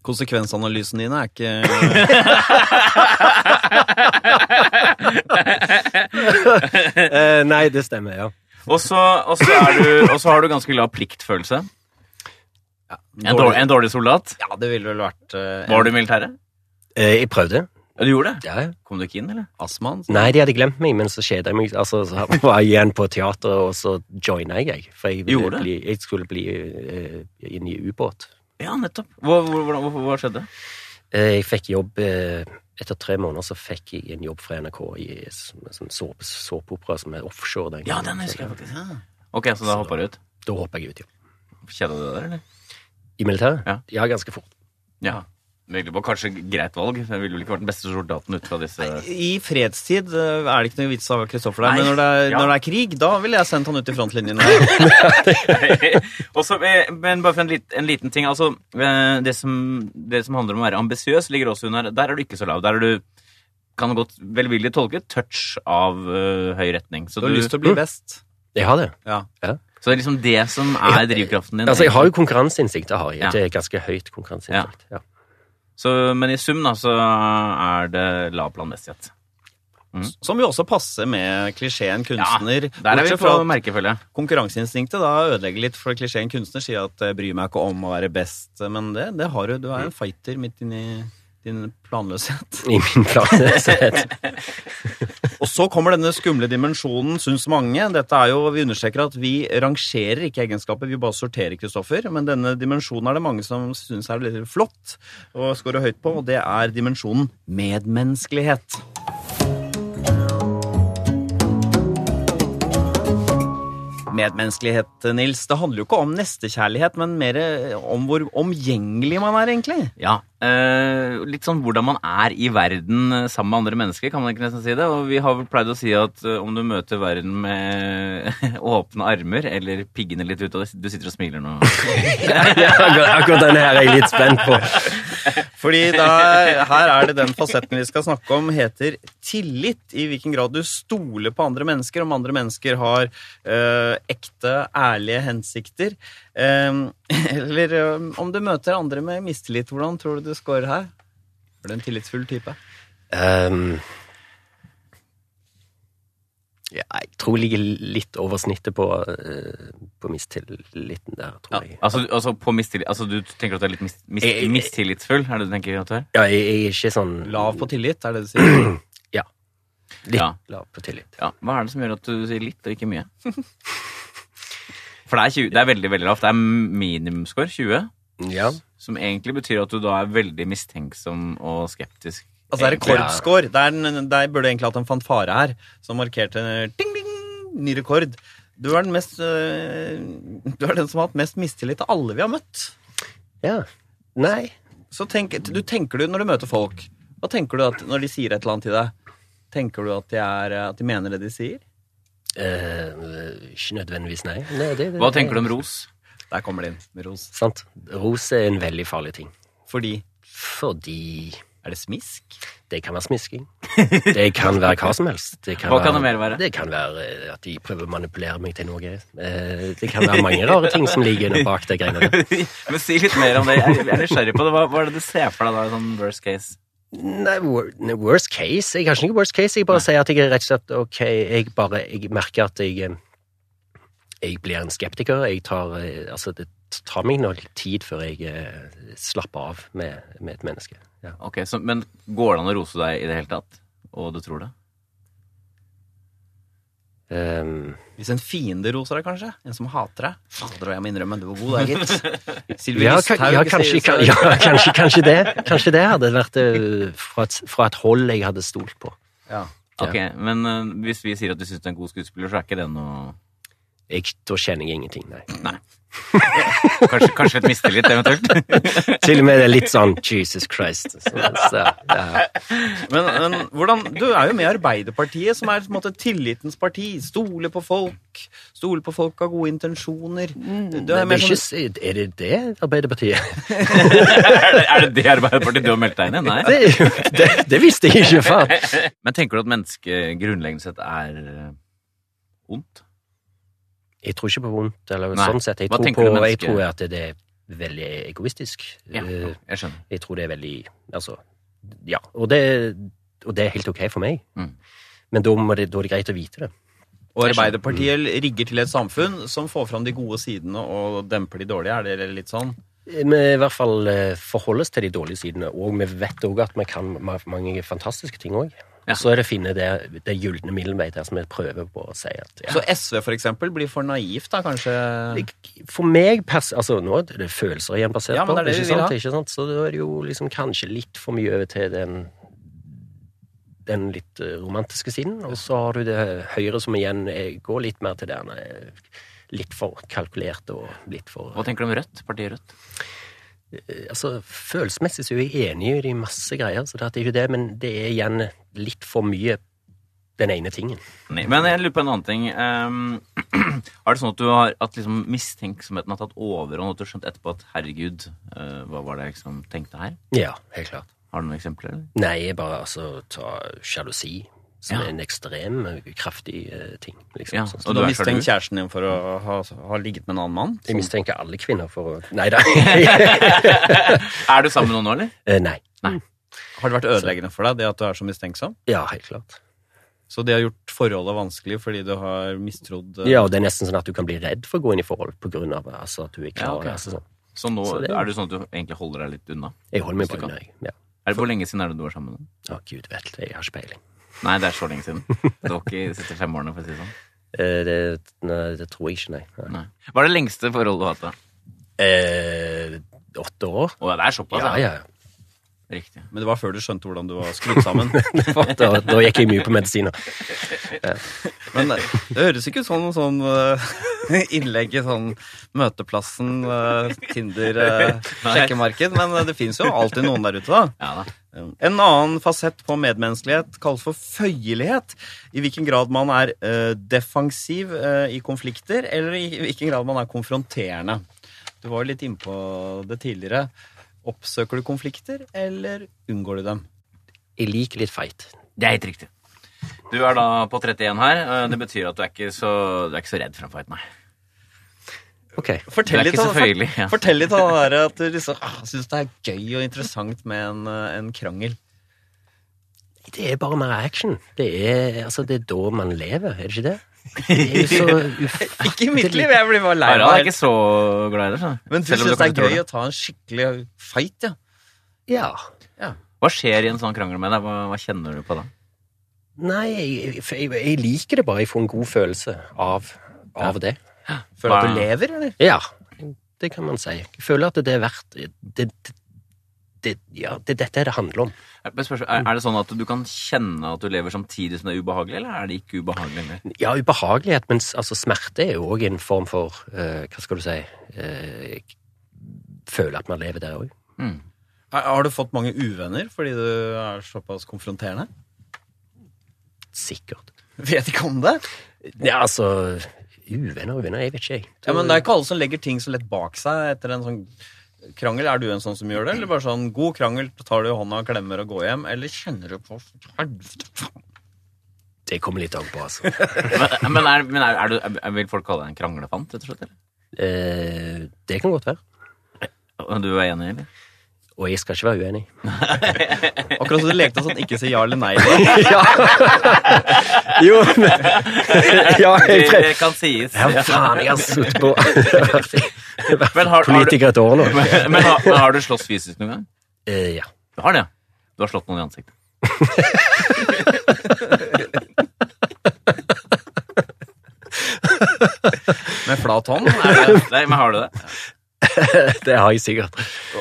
Konsekvensanalysene dine er ikke
Eh, nei, det stemmer, ja.
Og så og så er du- og så har du ganske lav pliktfølelse. En dårlig, en dårlig soldat.
Ja, det ville vel vært eh,
Var du i militæret?
Eh, jeg prøvde.
Ja, du gjorde det.
Ja, ja.
Kom du ikke inn, eller?
astmaen.
Nei, de hadde glemt meg, men så skjedde jeg meg. Altså, så var jeg igjen på teateret, og så joina jeg, jeg. For jeg, ville
Gjorde det?
bli, jeg skulle bli eh, inn i ubåt.
Ja, nettopp. Hva, hvor- hvordan- hva, hva skjedde?
Eh, jeg fikk jobb eh, Etter tre måneder så fikk jeg en jobb fra NRK i som- som såpe- såpeopera som er offshore. Den
Ja, den
gangen. Så
husker jeg faktisk.
Ja.
Ok, så da hoppa du ut.
Da hoppa jeg ut, ja.
Kjeda du deg der, eller?
I militæret?
Ja.
ja ganske fort.
Ja. Virkelig på kanskje greit valg. Jeg ville vel ikke vært den beste soldaten ut fra disse
I fredstid eh, er det ikke noe vits av Kristoffer der,
Nei.
men når det, er,
Ja.
når det er krig, da ville jeg sendt han ut i frontlinjen.
Og så, eh, Men bare for en, lit, en liten ting. Altså, eh, det som, det som handler om å være ambisiøs, ligger også under Der er du ikke så lav. Der er du kan godt velvillig tolke touch av øh, høy retning. Så,
Du har
du,
lyst til å bli best.
Jeg har det.
Ja.
så det er liksom det som er drivkraften din.
Altså, jeg har jo konkurranseinstinkt. Det har jeg.
Ja.
Det er ganske høyt konkurranseinstinkt. Ja.
så, men i sum da, så er det lav planmessighet.
Som jo også passer med klisjeen kunstner.
Der er vi
bortsett
på
fra at
merkefølge.
konkurranseinstinktet da ødelegger litt, for klisjeen kunstner sier at eh, 'bryr meg ikke om å være best', men det, det har du. Du er en fighter midt inni din planløshet.
I min planløshet.
Og så kommer denne skumle dimensjonen, syns mange. Dette er jo, Vi understreker at vi rangerer ikke egenskaper, vi bare sorterer, Kristoffer. Men denne dimensjonen er det mange som syns er litt flott og scorer høyt på, og det er dimensjonen medmenneskelighet. Medmenneskelighet, Nils, det handler jo ikke om nestekjærlighet, men mer om hvor omgjengelig man er, egentlig.
Ja, eh, litt sånn hvordan man er i verden eh, sammen med andre mennesker, kan man ikke nesten si det. Og vi har vel pleid å si at eh, om du møter verden med åpne armer, eller piggene litt ut, og du sitter og smiler nå.
Ja, akkurat, akkurat denne her er jeg litt spent på.
Fordi da, her er det den fasetten vi skal snakke om, heter tillit. I hvilken grad du stoler på andre mennesker, om andre mennesker har eh, ekte, ærlige hensikter. Eh, eller eh, om du møter andre med mistillit, hvordan tror du du scorer her? Er du en tillitsfull type?
Ehm, ja, jeg tror jeg ligger litt over snittet på, eh, på mistilliten der, tror jeg.
Altså, altså, på mistillit, altså du tenker at du er litt mis, mis,
Jeg- jeg-
mistillitsfull, er det du tenker at du er?
Ja, jeg, jeg er ikke sånn
Lav på tillit, er det det du sier?
Ja. Litt
Ja.
lav på tillit.
Ja, Hva er det som gjør at du sier litt og ikke mye? For det er, 20, det er veldig veldig lavt. Det er minimumscore 20,
Ja.
som egentlig betyr at du da er veldig mistenksom og skeptisk.
Altså, det er
Egentlig.
rekordscore. Det er en- Der burde jeg egentlig hatt en fanfare her, som markerte ding, ding, ny rekord. Du er, den mest, eh, du er den som har hatt mest mistillit av alle vi har møtt.
ja. Nei.
Så tenk, du tenker du når du møter folk Hva tenker du at når de sier et eller annet til deg Tenker du at de, er, at de mener det de sier?
Eh, ikke nødvendigvis, nei. nei det, det,
Hva tenker du om ros?
Der kommer det inn med ros
Sant. Ros er en veldig farlig ting.
Fordi,
Fordi
er det smisk?
det kan være smisking. Det kan være hva som helst. Det
Hva kan det mer være?
Det kan være eh, at de prøver å manipulere meg til noe. Eh, Det kan være mange rare ting som ligger under bak de greiene der.
Men si litt mer om det. Jeg jeg er nysgjerrig på det. Hva, hva er det du ser for deg da, i sånn worst case?
Nei, wor- nei, worst case Jeg er kanskje ikke worst case. Jeg bare sier at jeg er rett og slett ok. Jeg bare jeg merker at jeg eh, Jeg blir en skeptiker. Jeg tar eh, Altså, det tar meg noe tid før jeg eh, slapper av med, med et menneske. Ja.
Ok, så, Men går det an å rose deg i det hele tatt? Og du tror det?
Ehm,
Hvis en fiende roser deg kanskje En som hater deg Fader, og jeg må innrømme, du var god der gitt Sylvi
ja, ka-
Listhaug
ja,
sier
kanskje,
så-
ka- ja kanskje, kanskje det. Kanskje det hadde vært eh, fra et, fra et hold jeg hadde stolt på.
Ja.
Ok, Men eh, hvis vi sier at du syns du er en god skuespiller, så er ikke det noe
Jeg, da kjenner jeg ingenting, nei.
Kanskje, kanskje litt mistillit, eventuelt?
Til og med det er litt sånn Jesus Christ. Så, så, ja.
Men, men hvordan, du er jo med i Arbeiderpartiet Som er på en måte tillitens parti Stole på folk Stole på folk av gode intensjoner Du
Mm. Det
er
er,
mer
ikke,
sånn
s- er det det Arbeiderpartiet?
er, det, er det det Arbeiderpartiet du har meldt deg inn i? Nei.
Det, er jo- det, det visste jeg ikke før.
Men tenker du at mennesket grunnleggende sett er eh, ondt?
Jeg tror ikke på vondt, eller
Nei.
sånn sett. Jeg
Hva
tror,
tenker du
på, jeg
menneske-
tror at det er veldig egoistisk.
Ja,
Eh,
jeg skjønner.
Jeg tror det er veldig Altså, ja. Og det, og det er helt ok for meg.
Mm.
Men da, må det, da er det greit å vite det.
Og Arbeiderpartiet rigger til et samfunn som får fram de gode sidene og demper de dårlige. Er det litt sånn?
Vi i hvert fall eh, forholdes til de dårlige sidene, og vi vet òg at vi kan ma- mange fantastiske ting òg.
Ja.
Så er det å finne det, det gylne middelvei der som vi prøver på å si at ja,
Så SV for eksempel blir for naivt da, kanskje?
Jeg- For meg pers altså nå er det følelser igjen basert
Ja, men det er det vi
på, ikke
vil
sant?
ha.
ikke sant? Så da er det jo liksom kanskje litt for mye over til den den litt eh, romantiske siden, og så har du det høyre som igjen eh, går litt mer til den eh, litt for kalkulerte og litt for
Hva tenker du om Rødt? Partiet Rødt?
eh, Altså, følelsesmessig så er jeg enig i de masse greier, så det er ikke det, men det er igjen litt for mye den ene tingen.
Nei, Men jeg lurer på en annen ting. Ehm, er det sånn at du har at liksom mistenksomheten har tatt overhånd, og at du har skjønt etterpå at herregud, eh, hva var det jeg liksom tenkte her?
Ja, helt klart.
Har du noen eksempler? eller?
Nei, jeg bare altså ta sjalusi, som
Ja.
er en ekstrem, eh, kraftig eh, ting. liksom.
Ja,
Sånn.
Så
og
du
du
har
er sjalu?
mistenkt kjæresten din for å ha, ha ligget med en annen mann?
Jeg
Som-
mistenker alle kvinner for å Nei da. Eh,
Er du sammen med noen nå, eller?
Nei.
Har det vært ødeleggende for deg, det at du er så mistenksom?
Ja, helt klart.
Så det har gjort forholdet vanskelig fordi du har mistrodd eh,
Ja, og Det er nesten sånn at du kan bli redd for å gå inn i forhold på grunn av altså, at du er klar.
Ja, ok.
altså, sånn.
Så nå
Så det-
er det sånn at du egentlig holder deg litt unna.
Jeg holder meg
Hvis du
bare unna. jeg. Ja.
Er det Hvor lenge siden er det du var sammen med noen?
Å, gud vet det, jeg har ikke peiling.
Nei, det er så lenge siden. Det var ikke de siste fem årene, for å si det sånn.
Eh, Det, nei, det tror jeg ikke, nei. nei.
Nei. Hva er det lengste forholdet du har hatt? da?
Eh, åtte år?
Å, det er såpass,
Ja, ja.
Riktig.
Men det var før du skjønte hvordan du var skrudd sammen.
Da, da gikk jeg mye på medisiner.
Men eh, det høres ikke ut sånn, sånn eh, innlegg i sånn Møteplassen, eh, Tinder, eh, sjekkemarked. Men eh, det fins jo alltid noen der ute, da.
Ja da.
En annen fasett på medmenneskelighet kalles for føyelighet. I hvilken grad man er eh, defensiv eh, i konflikter, eller i hvilken grad man er konfronterende. Du var jo litt innpå det tidligere. Oppsøker du konflikter, eller unngår du dem?
Jeg liker litt feit.
Det er helt riktig. Du er da på 31 her. eh, Det betyr at du er ikke så, du er ikke så redd for en fight, nei.
Ok.
Fortell
Du er
litt,
ikke
om-
så føyelig, ja.
fortell litt om det der at du liksom, ah, syns det er gøy og interessant med en, eh, en krangel.
Det er bare mer action. Det er, altså, det er da man lever, er det ikke det? Det er jo så ufattelig
Ikke i mitt liv, jeg blir bare lei
Harald er
meg.
ikke så glad i det. så.
Men du
Selv om
syns det
kanskje
er
tror
gøy å ta en skikkelig fight, ja.
Ja.
Hva skjer i en sånn krangel med deg? Hva, hva kjenner du på da?
Nei, jeg, for jeg, jeg liker det bare. Jeg får en god følelse av, av det.
Føler at du
Hva-
lever, eller?
Ja, det kan man si. Jeg føler at det er verdt det, det, det, Ja, det er dette det handler om.
Er, men spørsmål, er, er det sånn at du kan kjenne at du lever samtidig som det er ubehagelig, eller er det ikke ubehagelig? lenger?
Ja, ubehagelighet, men s- altså, smerte er jo òg en form for eh, Hva skal du si eh, Føle at man lever der òg.
Mm.
Har har du fått mange uvenner fordi du er såpass konfronterende?
Sikkert.
Vet ikke om det.
Ja, altså Uvenner og uvenner, jeg vet ikke, jeg.
Ja, men Det er ikke alle som legger ting så lett bak seg etter en sånn krangel. Er du en sånn som gjør det? Eller bare sånn god krangel, tar du i hånda, klemmer og går hjem? Eller kjenner du på helvete faen?
Det kommer litt an på, altså.
Men, men, er, men er, er du, er, vil folk kalle deg en kranglefant, rett og slett? eller?
Eh, det kan godt være.
Og Du er enig, eller?
Og jeg skal ikke være uenig.
Akkurat som du lekte sånn ikke si ja eller nei. da.
ja. Jo, men Ja,
Det,
jeg prøver.
det kan sies.
Ja, faen, jeg har sittet på
Men har, har du,
politiker et år nå.
men, men har, men har du slåss fysisk noen gang?
Eh, ja.
Du har det, ja. Du har slått noen i ansiktet.
Med flat hånd. Er det-
Nei, men har du det?
Det har jeg sikkert.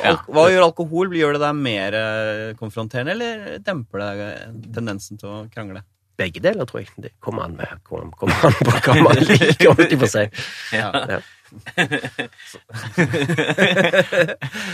Al- Hva gjør alkohol? Gjør det deg mer eh, konfronterende, eller demper det tendensen til å krangle?
Begge deler, tror jeg. Det kommer an, med, kommer, kommer an på hva man liker. holdt jeg på å si. Ja.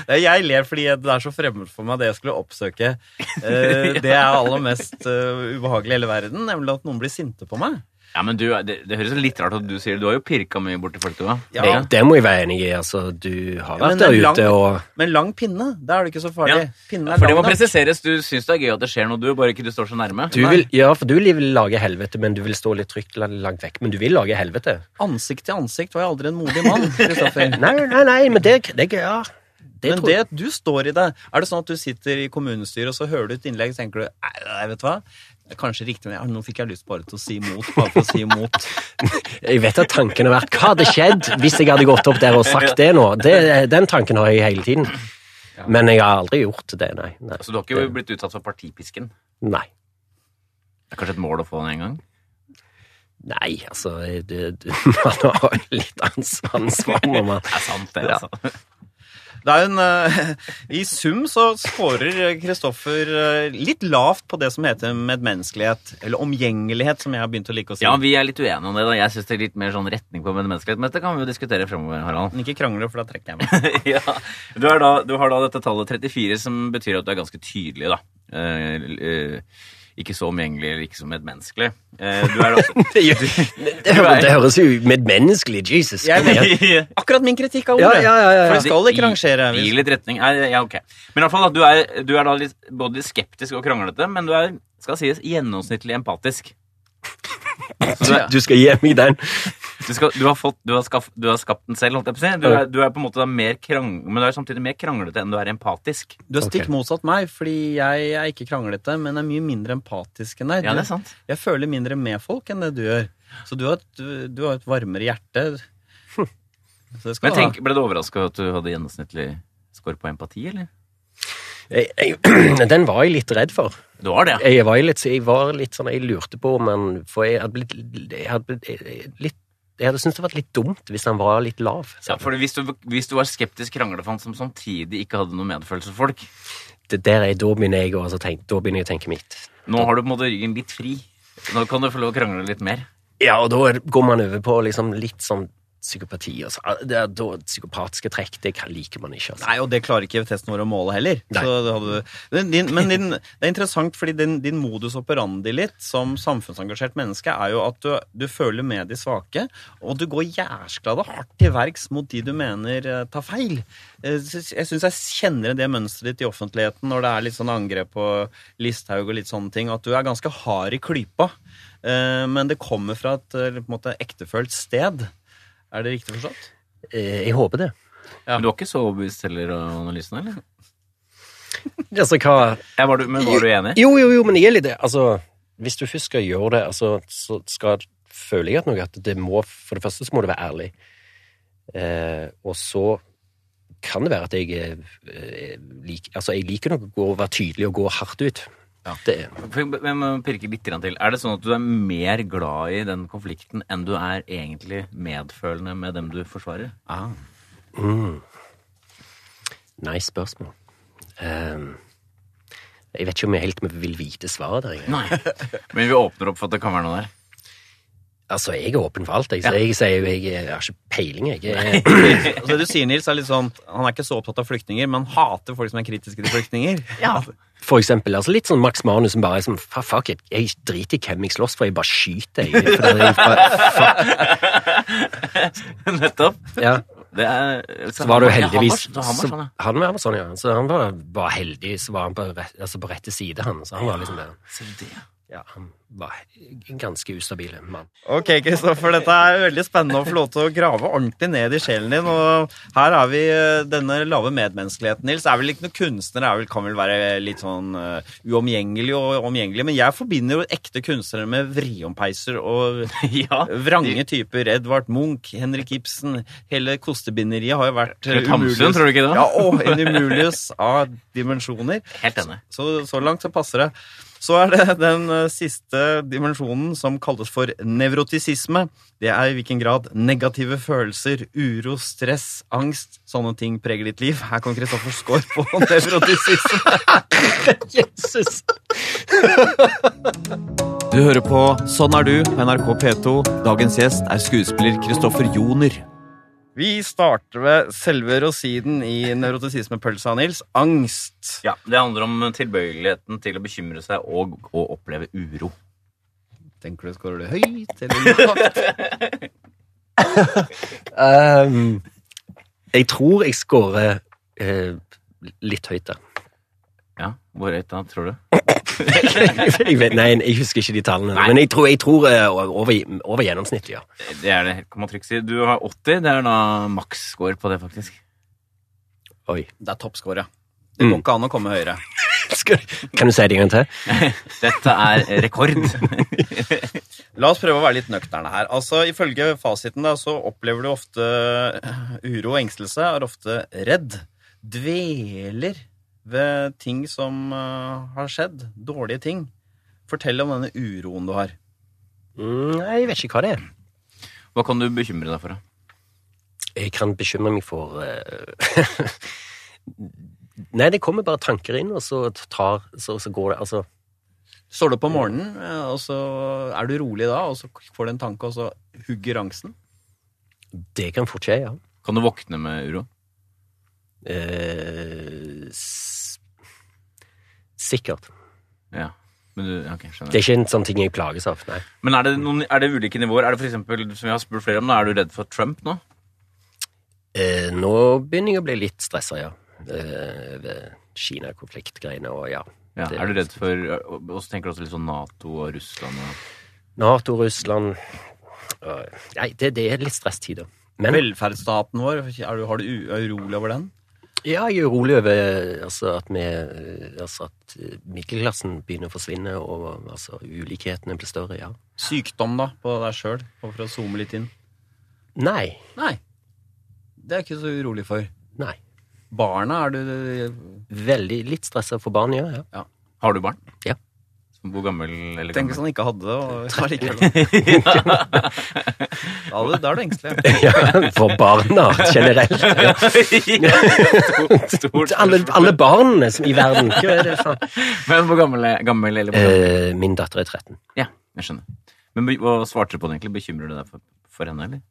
Ja, Jeg ler fordi det er så fremmed for meg det jeg skulle oppsøke. Eh, Det er aller mest eh, ubehagelig i hele verden, nemlig at noen blir sinte på meg.
Ja, men du, det, det høres litt rart ut at du sier det. Du har jo pirka mye borti folk, du òg.
Ja.
Det, det må jeg være enig i. altså. Du har
Ja, men
vært
det er
der
lang-
ute og
Men lang pinne, da er det ikke så farlig.
Ja.
Pinnen er
For det
lang.
må
nok.
presiseres. Du syns det er gøy at det skjer noe, du, bare ikke du står så nærme.
du vil, Ja, for du vil lage helvete, men du vil stå litt trygt la- langt vekk. Men du vil lage helvete.
Ansikt til ansikt var jeg aldri en modig mann. Kristoffer.
Nei, nei, nei, men det, det er gøy. Ja. Det
Men
tror
det
jeg.
at du står i det, er det sånn at du sitter i kommunestyret og så hører du et innlegg, så tenker du nei, nei, vet du hva? Det er Kanskje riktig, men ja, nå fikk jeg lyst bare til å si imot. Bare for å si imot.
Jeg vet at tanken har vært Hva hadde skjedd hvis jeg hadde gått opp der og sagt det nå? Det, den tanken har jeg hele tiden. Men jeg har aldri gjort det, nei. Nei.
Så du har ikke blitt utsatt for partipisken?
nei.
Det er kanskje et mål å få den en gang?
Nei, altså det, det, Man har jo litt ans- ansvar når man
Det er sant, det,
Ja.
altså.
Det er en, eh, I sum så scorer Kristoffer eh, litt lavt på det som heter medmenneskelighet, eller omgjengelighet, som jeg har begynt å like å si.
Ja, vi er litt uenige om det. da. Jeg syns det er litt mer sånn retning på menneskelighet. Men dette kan vi jo diskutere fremover, Harald.
Men ikke krangle, for da trekker jeg meg.
ja. du, er da, du har da dette tallet 34, som betyr at du er ganske tydelig, da. Eh, eh, ikke så omgjengelig eller ikke så medmenneskelig. Eh, du er også
Det, gjør- det, hører, det høres jo medmenneskelig Jesus.
Jeg
kom igjen.
Akkurat min kritikk av
Ja,
ordet.
ja, ja, ja, ja.
For det skal ikke rangere.
Gi litt retning. Nei, ja, ok. Men i hvert fall at du er, du er da litt, både litt skeptisk og kranglete, men du er, skal sies, gjennomsnittlig empatisk. Så du, er,
Du skal gi meg den.
du, skal, du, har fått, du, har skaff, du har skapt den selv, holdt jeg på å si. Du er, du er på en måte da mer krang, men du er samtidig mer kranglete enn du er empatisk.
Du er stikk
Ok.
motsatt meg, fordi jeg er ikke kranglete, men er mye mindre empatisk enn deg.
Ja, det er sant.
Jeg føler mindre med folk enn det du gjør. Så du har et, du- du har et varmere hjerte. Så det skal
Hm. Men
du ha.
tenk, ble du overraska at du hadde gjennomsnittlig score på empati, eller?
Jeg, jeg, den var jeg litt redd for.
Du har det, ja.
Jeg var litt, jeg var litt sånn, jeg lurte på om han For jeg hadde blitt Jeg hadde, blitt- jeg- litt, jeg hadde syntes det var litt dumt hvis han var litt lav.
Ja, for hvis du, hvis du var skeptisk kranglefant som samtidig ikke hadde noe medfølelse for folk,
Det der er, da begynner jeg å altså, tenke, da begynner jeg å tenke mitt.
nå har du på en måte ryggen litt fri. Nå kan du få lov å krangle litt mer.
Ja, og da er- går man over på liksom litt sånn psykopati. Altså. Det er da psykopatiske trekk, det kan- liker man ikke. Altså.
Nei, og det klarer ikke testen vår å måle heller.
Nei.
Så det hadde, men din, men din, det er interessant, fordi din, din modus operandi litt som samfunnsengasjert menneske er jo at du, du føler med de svake, og du går jærsklada hardt til verks mot de du mener eh, tar feil. Eh, så Jeg syns jeg kjenner det mønsteret ditt i offentligheten når det er litt sånn angrep på Listhaug og litt sånne ting, at du er ganske hard i klypa. Eh, Men det kommer fra et eh, på en måte, ektefølt sted. Er det riktig forstått?
Eh, Jeg håper det.
Ja.
Men du var ikke så overbevist heller av analysen, eller?
Altså, hva
Ja, var du, men var du enig?
Jo, jo, jo, men jeg er litt det. Altså, hvis du først skal gjøre det, altså, så skal føler jeg at noe at det må For det første så må du være ærlig. Eh, og så kan det være at jeg eh, eh, lik, Altså, jeg liker nok å gå- være tydelig og gå hardt ut.
Ja.
Det,
Jeg må pirke litt grann til. Er det sånn at du er mer glad i den konflikten enn du er egentlig medfølende med dem du forsvarer?
nice spørsmål. Ehm, jeg vet ikke om jeg helt vil vite svaret der. Jeg.
Nei. Men vi åpner opp for at det kan være noe der.
Altså, jeg er åpen for alt. Jeg, så
Ja.
jeg sier jo jeg, jeg har ikke peiling, jeg. jeg
Og Altså, det du sier, Nils, er litt sånn Han er ikke så opptatt av flyktninger, men han hater folk som er kritiske til flyktninger.
Ja.
For eksempel, altså litt sånn Max Manus som bare er sånn "Fa- Fuck it, jeg driter i hvem jeg slåss for, jeg bare skyter. Jeg, for det er bare, fuck,
Nettopp.
ja.
Det er,
Så var det jo heldigvis
Ja, han var, så, han var sånn, ja.
så- Han var sånn, ja. Så han var, var heldig, så var han på, rett, altså på rette side, han. Så han var liksom det.
Se det.
Ja, han var en ganske ustabil mann.
Ok, Kristoffer, dette er veldig spennende å få lov til å grave ordentlig ned i sjelen din. Og her er vi eh, denne lave medmenneskeligheten, Nils. Er vel ikke noen kunstner, er vel, kan vel være litt sånn eh, uomgjengelig og omgjengelig. Men jeg forbinder jo ekte kunstnere med vriompeiser og
Ja.
Vrange typer. Edvard Munch, Henrik Ibsen. Hele kostebinderiet har jo vært eh,
Knut Hamsun,
Umulius-
tror du ikke det?
Ja, og en Umulius av dimensjoner.
Helt enig.
Så, så langt så passer det. Så er det den eh, siste dimensjonen som kalles for nevrotisisme. Det er i hvilken grad negative følelser, uro, stress, angst, sånne ting preger ditt liv. Her kom Kristoffer Skaar på nevrotisisme.
Jesus!
Du hører på Sånn er du på NRK P2. Dagens gjest er skuespiller Kristoffer Joner. Vi starter ved selve rosiden i nevrotisismepølsa, Nils. Angst.
Ja, Det handler om tilbøyeligheten til å bekymre seg og å oppleve uro.
Tenker du skårer du høyt eller lavt?
Ehm, jeg tror jeg scorer eh, litt høyt der.
Ja, Hvor høyt da, tror du?
jeg vet, nei, jeg husker ikke de tallene. Men jeg tror, jeg tror eh, over, over gjennomsnittet, ja.
Det er det, kan man trygt si. Du har 80. Det er da maksscore på det, faktisk.
Oi.
Det er toppscore, ja. Det går
Mm.
ikke an å komme høyere.
Kan du si det en gang til?
Dette er rekord.
La oss prøve å være litt nøkterne her. Altså, Ifølge fasiten da, så opplever du ofte eh, uro og engstelse, er ofte redd. Dveler ved ting som eh, har skjedd. Dårlige ting. Fortell om denne uroen du har.
Mm, Nei, jeg vet ikke hva det er.
Hva kan du bekymre deg for? da?
Jeg kan bekymre meg for eh, Nei, det kommer bare tanker inn, og så, tar, så, så går det Altså,
Står du opp om morgenen, eh, og så er du rolig da, og så får du en tanke, og så hugger angsten?
det kan fort skje, ja.
Kan du våkne med uro?
Eh, s sikkert.
Ja. Men, du, ja, ok, skjønner.
Det er ikke en sånn ting jeg plages av. Nei.
Men er det, noen, er det ulike nivåer? Er det for eksempel, som jeg har spurt flere om, da, er du redd for Trump nå?
Eh, nå begynner jeg å bli litt stressa, ja. Eh, ved Kina-konfliktgreiene og ja.
Ja,
Det-
er du redd for Og og så tenker du også litt sånn Nato og Russland og
Nato, Russland eh, Nei, det, det er litt stresstider. Men
Velferdsstaten vår, er du, har du u- er du urolig over den?
ja, jeg er urolig over altså, at, vi, eh, altså, at eh, middelklassen begynner å forsvinne, og altså, ulikhetene blir større, ja.
Sykdom, da, på deg sjøl, for å zoome litt inn?
Nei.
Nei. Det er jeg ikke så urolig for.
Nei.
Barna er du
Veldig litt stressa for barn, ja. ja.
Har du barn?
Ja.
Hvor gammel eller
Tenk hvis han
gammel?
sånn, ikke hadde det, og var likevel da. er du- Da er du engstelig.
ja for barna generelt. Ja.
Stort.
Alle, alle barnene som, i verden. Hva er det faen?
Men hvor gammel, er- gammel eller hvor gammel?
Eh, min datter er 13.
Ja, jeg skjønner. Men be- hva svarte du på det egentlig? Bekymrer du deg for, for henne, eller?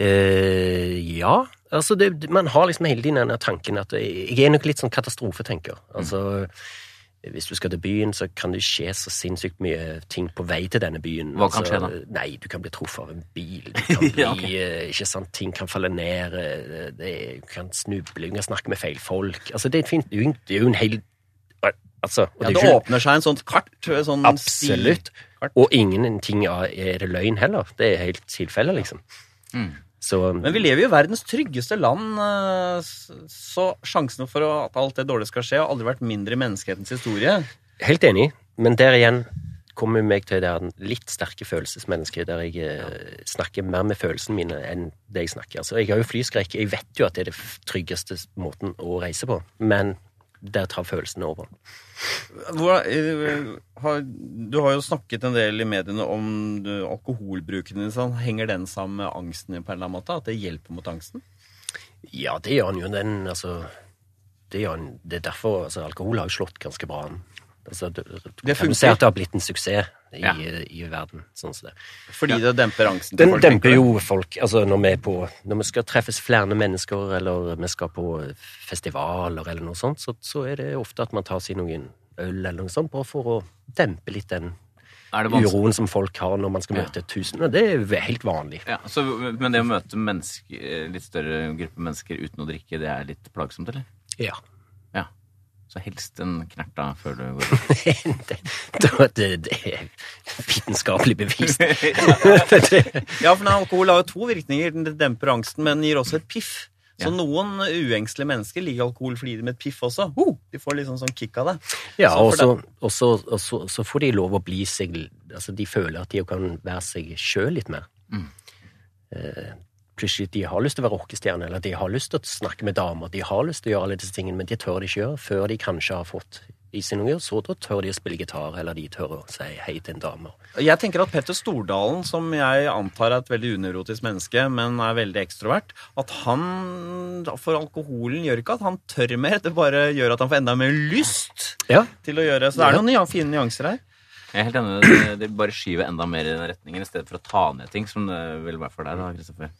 Eh, ja. Altså, det, man har liksom hele tiden denne tanken at jeg jeg er nok litt sånn katastrofetenker.
Mm.
Altså, hvis du skal til byen, så kan det skje så sinnssykt mye ting på vei til denne byen.
Hva kan
altså,
skje da?
Nei, du kan bli truffet av en bil. Du kan bli,
Ja, ok.
eh, ikke sant, ting kan falle ned. eh, Det, du kan snuble, du kan snakke med feil folk. Altså, det er, et fint, det er jo en- det er jo en hel Altså, og
Ja,
er
det
jo ikke-
åpner seg en sånt kart. Sånn
Absolutt.
Kart.
Og ingenting av er det løgn heller. Det er helt tilfelle, liksom.
Mm.
Så um,
Men vi lever jo i verdens tryggeste land, eh, s- så sjansene for å- at alt det dårlige skal skje, har aldri vært mindre i menneskehetens historie.
Helt enig, men der igjen kommer meg til det her litt sterke følelsesmennesket, der jeg eh, snakker mer med følelsene mine enn det jeg snakker. Altså, jeg har jo flyskrekk, jeg vet jo at det er det f- tryggeste måten å reise på, men der tar følelsene over.
Hvor, eh, har, du har jo snakket en del i mediene om eh, alkoholbruken din. Sånn. Henger den sammen med angsten din på en eller annen måte? At det hjelper mot angsten?
Ja, det gjør han jo, den, altså Det, gjør han, det er derfor altså, alkohol har jo slått ganske bra an. Altså, du, du
Det
kan
funker.
jo se at det har blitt en suksess i,
Ja.
i verden, sånn som det.
Fordi det demper angsten. til
Den
folk,
demper
tenker du?
jo folk. Altså når vi er på Når vi skal treffes flere mennesker, eller vi skal på festivaler eller noe sånt, så, så er det ofte at man tar seg noen øl eller noe sånt, bare for å dempe litt den
Er det vanskelig?
uroen som folk har når man skal møte tusen. Og det er jo helt vanlig.
Ja, så, men det å møte mennesker, eh, litt større gruppe mennesker uten å drikke, det er litt plagsomt, eller?
Ja.
Ja. Så helst en knert da før du går.
det, det, det er vitenskapelig bevist. det,
Ja, for nei, alkohol har jo to virkninger. Den demper angsten, men gir også et piff. Så
Ja.
noen uengstelige mennesker liker alkohol fordi de med et piff også. Ho! de får liksom sånn kick av det.
ja,
Så
og
for
så, og, så, og, så, så får de lov å bli seg Altså, de føler at de kan være seg sjøl litt mer. Eh, plutselig de har lyst til å være rockestjerne, eller de har lyst til å snakke med damer, de har lyst til å gjøre alle disse tingene, men de tør de ikke gjøre før de kanskje har fått i seg noe, og så da tør de å spille gitar, eller de tør å si hei til en dame.
Jeg tenker at Petter Stordalen, som jeg antar er et veldig unevrotisk menneske, men er veldig ekstrovert, at han For alkoholen gjør ikke at han tør mer, det bare gjør at han får enda mer lyst
Ja.
til å gjøre Så det er noen nyan- fine nyanser her.
Jeg er helt enig, det, det bare skyver enda mer i den retningen, i stedet for å ta ned ting, som det vil være for deg da, Kristoffer.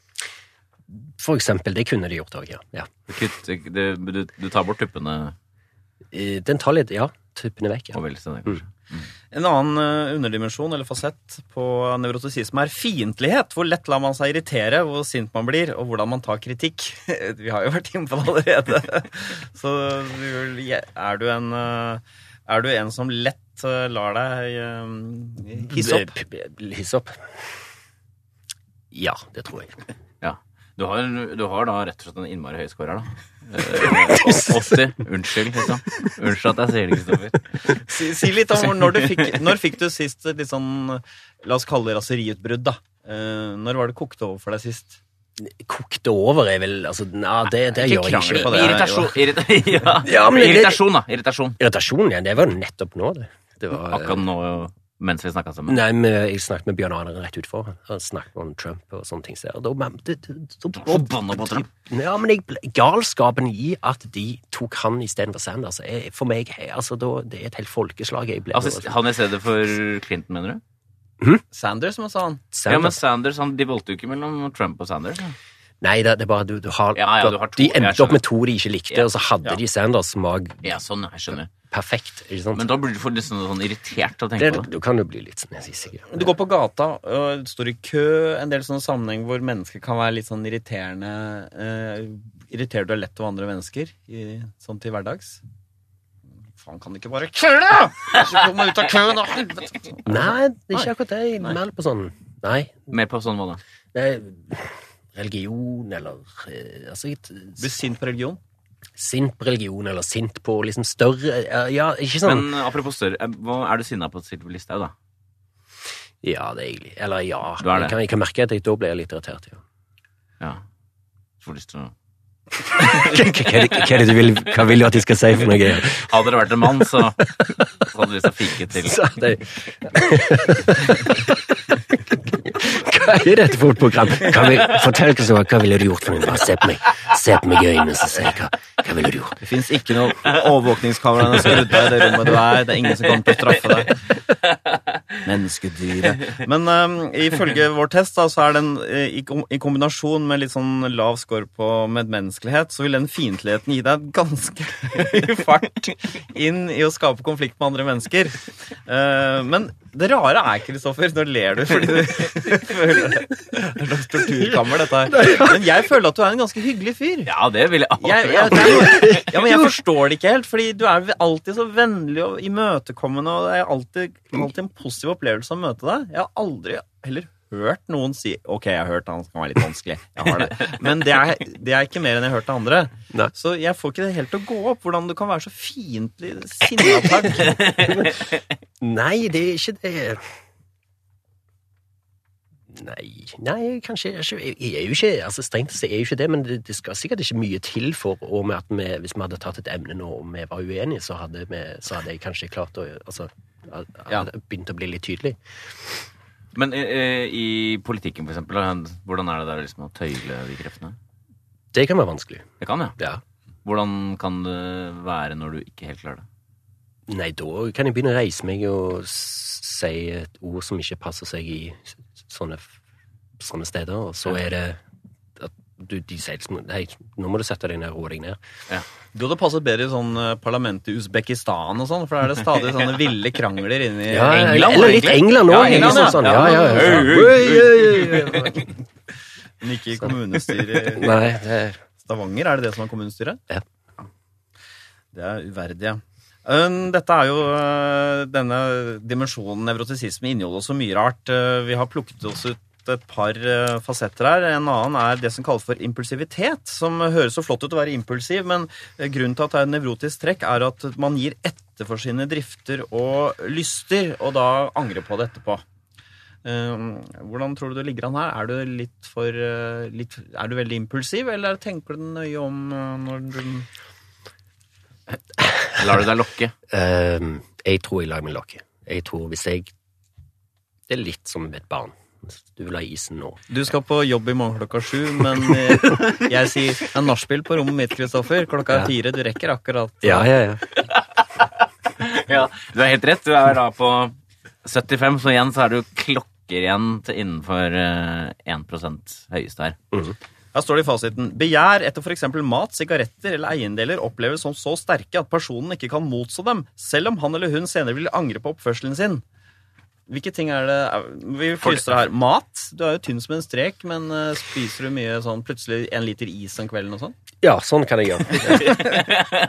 For eksempel, det kunne de gjort òg, ja. ja.
Du, kutter- det- du, du tar bort tuppene
Eh, Den tar litt, ja, tuppene vekk, ja.
og velser det, kanskje.
Mm.
En annen eh, underdimensjon eller fasett på nevrotisisme er fiendtlighet. Hvor lett lar man seg irritere, hvor sint man blir, og hvordan man tar kritikk. Vi har jo vært inne på det allerede. Så du- er du en, eh, er du en som lett eh, lar deg eh, hisse opp?
P- p- Hiss opp. Ja, det tror jeg.
Ja. Du har, du har da rett og slett en innmari høy score her, da. Eh, 80. Unnskyld, liksom. Unnskyld at jeg sier det, Kristoffer.
Si, si litt om hvor- når du fikk, når fikk du sist et litt sånn La oss kalle det raseriutbrudd, da. Eh, når var det kokte over for deg sist?
Kokte over er vel Altså, nei, det, det
Ikke
gjør jeg
krangel
ikke.
på det.
Irritasjon. Irrita ja.
Ja, men det-
Irritasjon, da. Irritasjon.
Irritasjon, ja. Det var jo nettopp nå, det. det var, eh,
Akkurat nå mens vi snakka sammen.
Nei, men jeg snakket med Bjørn Arne rett utfor. Han snakket om Trump og sånne ting. Så der. Da, men, det, det, så-
Forbanna på Trump.
Ja, men jeg, ble- galskapen i at de tok han istedenfor Sanders, er for meg er- altså, da, det er et helt folkeslag. Jeg ble
Altså, han i stedet for Clinton, mener du?
Sanders, hva sa han?
Ja, men
Sanders-
Sanders, han, De valgte jo ikke mellom Trump og Sanders. da.
Nei, det, det er bare du, du har,
Ja, ja, du har to,
De
jeg
endte
skjønner.
opp med to de ikke likte,
Ja.
og så hadde
Ja.
de Sanders' smak
Ja, sånn, jeg skjønner.
perfekt. ikke sant?
Men da blir du for litt sånn, sånn irritert av å
det,
tenke på det.
du kan jo bli litt sånn sikker.
Du går på gata og står i kø, en del sånne sammenheng hvor mennesker kan være litt sånn irriterende eh, Irriterer du deg lett over andre mennesker i, sånn til hverdags? Faen, kan du ikke bare køle, da?! Så kom meg ut av køen, da! helvete!
Nei, det er
Nei.
ikke akkurat det. Jeg er Mer på sånn Nei.
Mer på sånn hva da?
Det er religion eller eh, altså,
Blir
et-
sint på religion.
Sint på religion eller sint på liksom større ja, Ja, ikke sånn
Men eh, apropos større, eh, hva er du sinna på Sylvi Listhaug, da?
Ja, det er egentlig Eller ja.
Du er det.
Jeg, kan, jeg kan merke at jeg da blir jeg litt irritert. Ja.
Ja. Får lyst til å
Hva, er det du vil, hva vil du at jeg skal si for noe?
Hadde det vært en mann, så så hadde vi så fike til.
Så det... Hva er dette for et program? Hva vil, fortell hva som var, hva ville du gjort for meg? Bare se på meg, se på meg i øynene og si hva, hva ville du gjort?
Det fins ikke noe overvåkningskamera som er skrudd av i det rommet du er. Det er ingen som kommer til å straffe deg. Menneskedyret. Men ehm, ifølge vår test da, så er den eh, i, kom i kombinasjon med litt sånn lav score på medmenneskelighet, så vil den fiendtligheten gi deg ganske høy fart inn i å skape konflikt med andre mennesker. Eh, men det rare er, Kristoffer, nå ler du fordi du føler det Det er et slags torturkammer, dette her. Men jeg føler at du er en ganske hyggelig fyr
Ja, det vil jeg aldri.
jeg, jeg, ja, men jeg forstår det ikke helt, fordi du er alltid så vennlig og imøtekommende, og det er alltid, alltid en positiv opplevelse å møte deg. Jeg har aldri heller hørt noen si Ok, jeg har hørt han kan være litt vanskelig. Jeg har det. Men det er, det er ikke mer enn jeg har hørt av andre.
Nei.
Så jeg får ikke det helt til å gå opp, hvordan du kan være så fiendtlig sinna takk.
Nei, det er ikke det. Nei, nei, kanskje jeg er ikke- Jeg er jo ikke altså Strengt sett er jeg jo ikke det, men det, det skal sikkert ikke mye til for og med at vi, hvis vi hadde tatt et emne nå og vi var uenige, så hadde, vi, så hadde jeg kanskje klart å altså,
Ja.
hadde begynt å bli litt tydelig.
Men eh, i politikken, for eksempel, eh, hvordan er det der liksom, å tøyle de kreftene?
Det kan være vanskelig.
Det kan, ja.
Ja.
Hvordan kan det være når du ikke helt klarer det?
Nei, da kan jeg begynne å reise meg og s- si et ord som ikke passer seg i s- sånne, f- sånne steder, og så er det at du, de sier liksom Hei, nå må du sette deg ned og roe deg ned.
Du hadde passet bedre i sånn eh, parlament i Usbekistan og sånn, for da er det stadig sånne ville krangler inni
Ja, ja,
England.
eller litt
egentlig.
England
Ja,
òg.
England, ja.
sånn, ja, ja, ja.
Ja,
Oi, oi, oi, oi.
Men ikke i kommunestyret. i-
Nei, det er
Stavanger, er det det som er kommunestyret?
Ja.
Det er uverdig, ja. Um, Dette er jo øh, denne dimensjonen nevrotisisme inneholder så mye rart. Uh, Vi har plukket oss ut et par øh, fasetter her. En annen er det som kalles for impulsivitet, som høres så flott ut å være impulsiv, men øh, grunnen til at det er et nevrotisk trekk, er at man gir etter for sine drifter og lyster, og da angrer på det etterpå. Um, hvordan tror du det ligger an her? Er du litt for uh, litt, Er du veldig impulsiv, eller tenker du nøye om uh, når du
Lar du deg lokke?
Ehm, Jeg tror jeg lar meg lokke. Jeg tror hvis jeg Det er litt som et barn. Du vil ha isen nå.
Du skal på jobb i morgen klokka sju, men eh, jeg sier en nachspiel på rommet mitt, Kristoffer. Klokka
Ja.
er fire. Du rekker akkurat
Ja, ja, ja.
Ja, du er helt rett. Du er da på 75, så igjen så er du klokker igjen til innenfor eh, 1 høyeste her.
Her står det i fasiten. Begjær etter f.eks. mat, sigaretter eller eiendeler oppleves som så sterke at personen ikke kan motstå dem, selv om han eller hun senere vil angre på oppførselen sin. Hvilke ting er det Vi fryser her. Mat. Du er jo tynn som en strek, men eh, spiser du mye sånn plutselig en liter is om kvelden og sånn?
Ja, sånn kan jeg gjøre.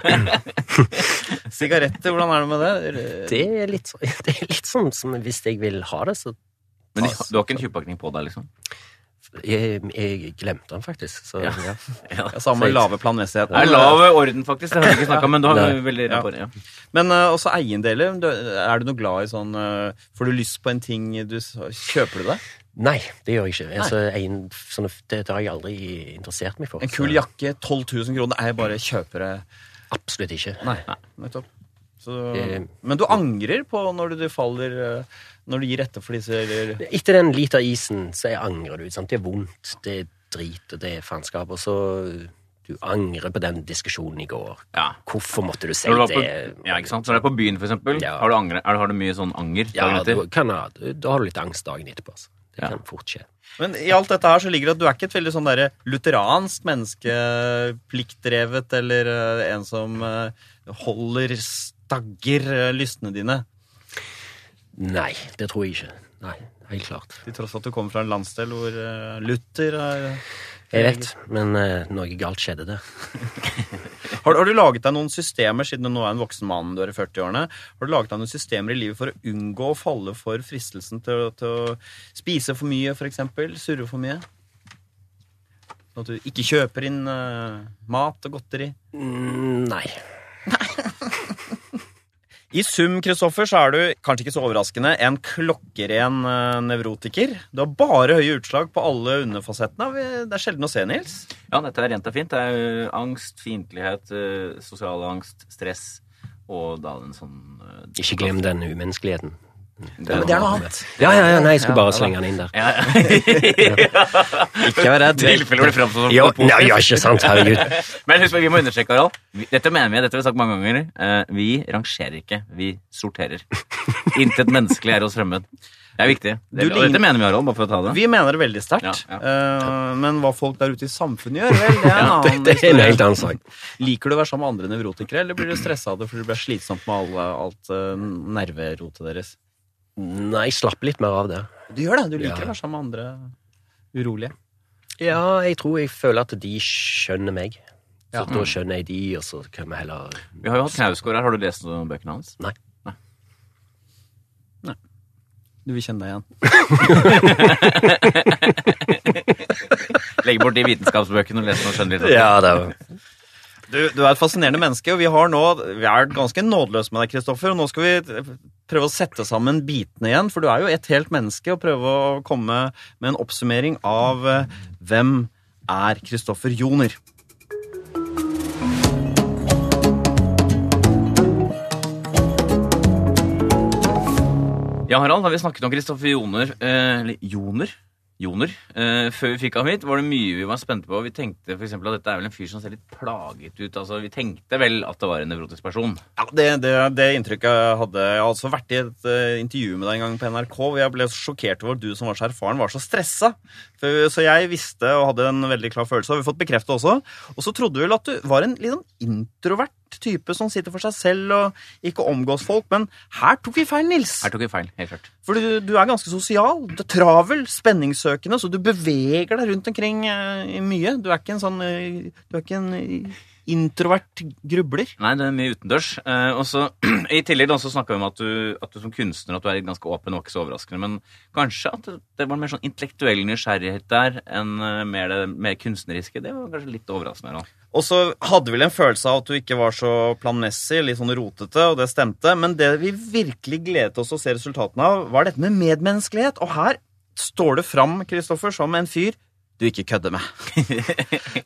Sigaretter, hvordan er det med det?
Det er litt, så- det er litt sånn som hvis jeg vil ha det, så
Men du, du har ikke en tjuvpakning på deg, liksom?
Jeg, jeg glemte den faktisk. Så,
Ja.
ja.
Ja.
Ja, Samme lave planmessigheten.
Det er lav orden, faktisk. Det har vi ikke snakket om, men du har
Nei.
veldig
Ja.
rapport, ja.
Men eh, også eiendeler. Du- Er du noe glad i sånn eh, Får du lyst på en ting du s- Kjøper du det?
Nei, det gjør jeg ikke. Altså, en, sånn, det, det har jeg aldri interessert meg for.
En kul
så
jakke, 12 000 kroner. Er jeg bare kjøper det?
Absolutt ikke.
Nei, nettopp. Så,
Eh,
men du angrer på når du faller eh, Når du gir etter for disse eller,
Etter den liter isen, så jeg angrer du. Sant? Det er vondt, det er drit, og det er faenskap. Og så du angrer på den diskusjonen i går.
ja.
Hvorfor måtte du si
Når du, var
det?
på, ja, ikke sant? Når du er på byen, for eksempel,
Ja.
har, du angre, er, har du mye sånn anger?
Ja,
dagen
du,
etter?
kan, ha- da har du litt angst dagen etterpå. Altså. Det
Ja.
kan fort skje.
Men i alt dette her så ligger det at du er ikke et veldig sånn derre lutheransk menneske, pliktdrevet, eller eh, en som eh, holder stagger eh, lystene dine.
Nei, det tror jeg ikke. Nei, helt klart.
Til tross for at du kommer fra en landsdel hvor eh, Luther er
Jeg vet, men eh, noe galt skjedde der.
har, har du laget deg noen systemer, siden du nå er en voksen mann, du er i 40-årene, har du laget deg noen systemer i livet for å unngå å falle for fristelsen til, å- til å spise for mye, for eksempel, surre for mye? Sånn At du ikke kjøper inn eh, mat og godteri?
Mm, nei.
I sum, Kristoffer, så er du, kanskje ikke så overraskende, en klokkeren eh, nevrotiker. Du har bare høye utslag på alle underfasettene. Vi- Det er sjelden å se, Nils.
Ja, dette er rent og fint. Det er ø, angst, fiendtlighet, ø, sosial angst, stress og da en sånn ø,
Ikke glem den umenneskeligheten.
men det er noe annet.
Ja, ja, ja, nei, jeg skulle
Ja,
bare
ja,
slenge den inn der.
Ja, ja.
Ikke vær redd.
Tilfelle hvor det framstår som
Ja,
positivt.
nei, ja, ikke sant, herregud.
Men husk, på, vi må understreke, Harald. Vi- Dette mener vi, dette har vi sagt mange ganger. Eh, Vi rangerer ikke, vi sorterer. Intet menneskelig er oss fremmed. Det er viktig. Det,
Du
og
ligner-
dette mener vi, Harald, bare for å ta det.
Vi mener det veldig sterkt.
Ja,
eh, Men hva folk der ute i samfunnet gjør, vel, det er en annen
Det er en helt
historie.
annen sak.
Liker du å være sammen med andre nevrotikere, eller blir du stressa av det fordi det blir slitsomt med alle, alt eh, nerverotet deres?
Nei, slapp litt mer av det.
Du gjør det. Du liker
Ja.
å være sammen med andre urolige.
Ja, jeg tror jeg føler at de skjønner meg. Så
Ja.
da skjønner jeg de, og så kan vi heller
Vi har jo hatt Knausgård her. Har du lest noen av bøkene hans?
Nei.
Du vil kjenne deg igjen.
Legg bort de vitenskapsbøkene og les noe skjønner litt.
Ja, det er
Du, du er et fascinerende menneske, og vi har nå Vi er ganske nådeløse med deg, Kristoffer, og nå skal vi eh, prøve å sette sammen bitene igjen, for du er jo et helt menneske, og prøve å komme med en oppsummering av eh, hvem er Kristoffer Joner.
Ja, Harald, da vi snakket om Kristoffer Joner, eh, eller Joner, Joner, eh, før vi fikk ham hit, var det mye vi var spente på. Vi tenkte for eksempel at dette er vel en fyr som ser litt plaget ut. Altså, vi tenkte vel at det var en nevrotisk person.
Ja, det, det, det inntrykket jeg hadde Jeg har altså vært i et eh, intervju med deg en gang på NRK, hvor jeg ble så sjokkert over at du som var så erfaren, var så stressa. For- Så jeg visste og hadde en veldig klar følelse, og vi har fått bekreftet også. Og så trodde vi vel at du var en litt sånn introvert type som sitter for seg selv og ikke omgås folk, men her tok vi feil, Nils.
Her tok vi feil, helt klart.
For du, du er ganske sosial, du er travel, spenningssøkende, så du beveger deg rundt omkring eh, mye. Du er ikke en sånn eh, Du er ikke en eh, introvert grubler.
Nei, det er mye utendørs. Eh, og så I tillegg da, så snakka vi om at du, at du som kunstner at du er ganske åpen, var ikke så overraskende. Men kanskje at det- det var mer sånn intellektuell nysgjerrighet der enn eh, mer det mer kunstneriske. Det var kanskje litt overraskende. Harald.
Og så hadde vi vel en følelse av at du ikke var så planmessig, litt sånn rotete, og det stemte. Men det vi virkelig gledet oss å se resultatene av, var dette med medmenneskelighet. Og her står det fram, Kristoffer, som en fyr du ikke kødder med.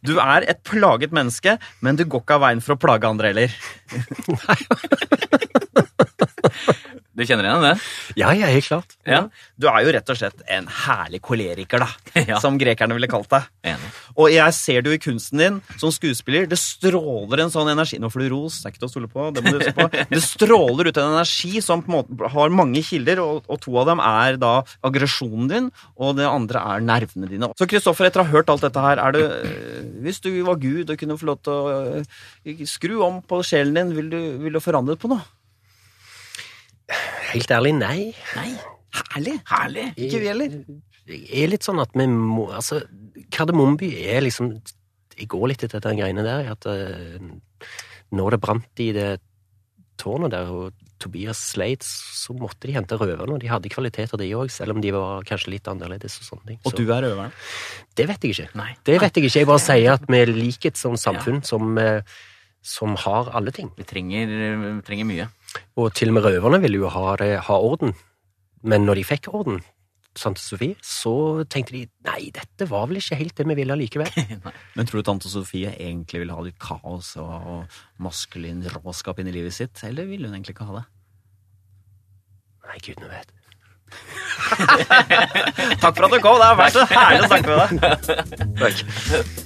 Du er et plaget menneske, men du går ikke av veien for å plage andre heller.
Du kjenner igjen det?
Ja, ja, helt klart.
Ja.
Du er jo rett og slett en herlig koleriker, da.
Ja.
Som grekerne ville kalt deg.
Enig.
Og jeg ser det jo i kunsten din som skuespiller. Det stråler en sånn energi Nå får du ros, det er ikke til å stole på. Det må du huske på. Det stråler ut en energi som på en måte har mange kilder, og, og to av dem er da aggresjonen din, og det andre er nervene dine. Så Kristoffer, etter å ha hørt alt dette her, er det øh, Hvis du var Gud og kunne få lov til å øh, skru om på sjelen din, vil du, vil du forandre på noe?
Helt ærlig, nei.
Herlig!
Herlig.
Ikke vi heller.
Jeg er litt sånn at vi må Altså, Kardemommeby er liksom Jeg går litt etter den greiene der. At eh, når det brant i det tårnet der, og Tobias sleit, så måtte de hente røverne. Og de hadde kvaliteter, de òg, selv om de var kanskje litt annerledes og sånne ting.
Og
Så-
du er røveren.
Det vet jeg ikke.
Nei.
Det vet jeg ikke. Jeg bare sier at vi liker et sånt samfunn som, eh, som har alle ting.
Vi trenger, vi trenger mye.
Og til og med røverne ville jo ha, det, ha orden. Men når de fikk orden, Tante Sofie, så tenkte de nei, dette var vel ikke helt det vi ville likevel.
Men tror du tante Sofie egentlig vil ha litt kaos og, og maskulin råskap inn i livet sitt? Eller vil hun egentlig ikke ha det?
Nei, gudene vet.
Takk for at du kom. Det har vært så herlig å snakke med deg.
Takk.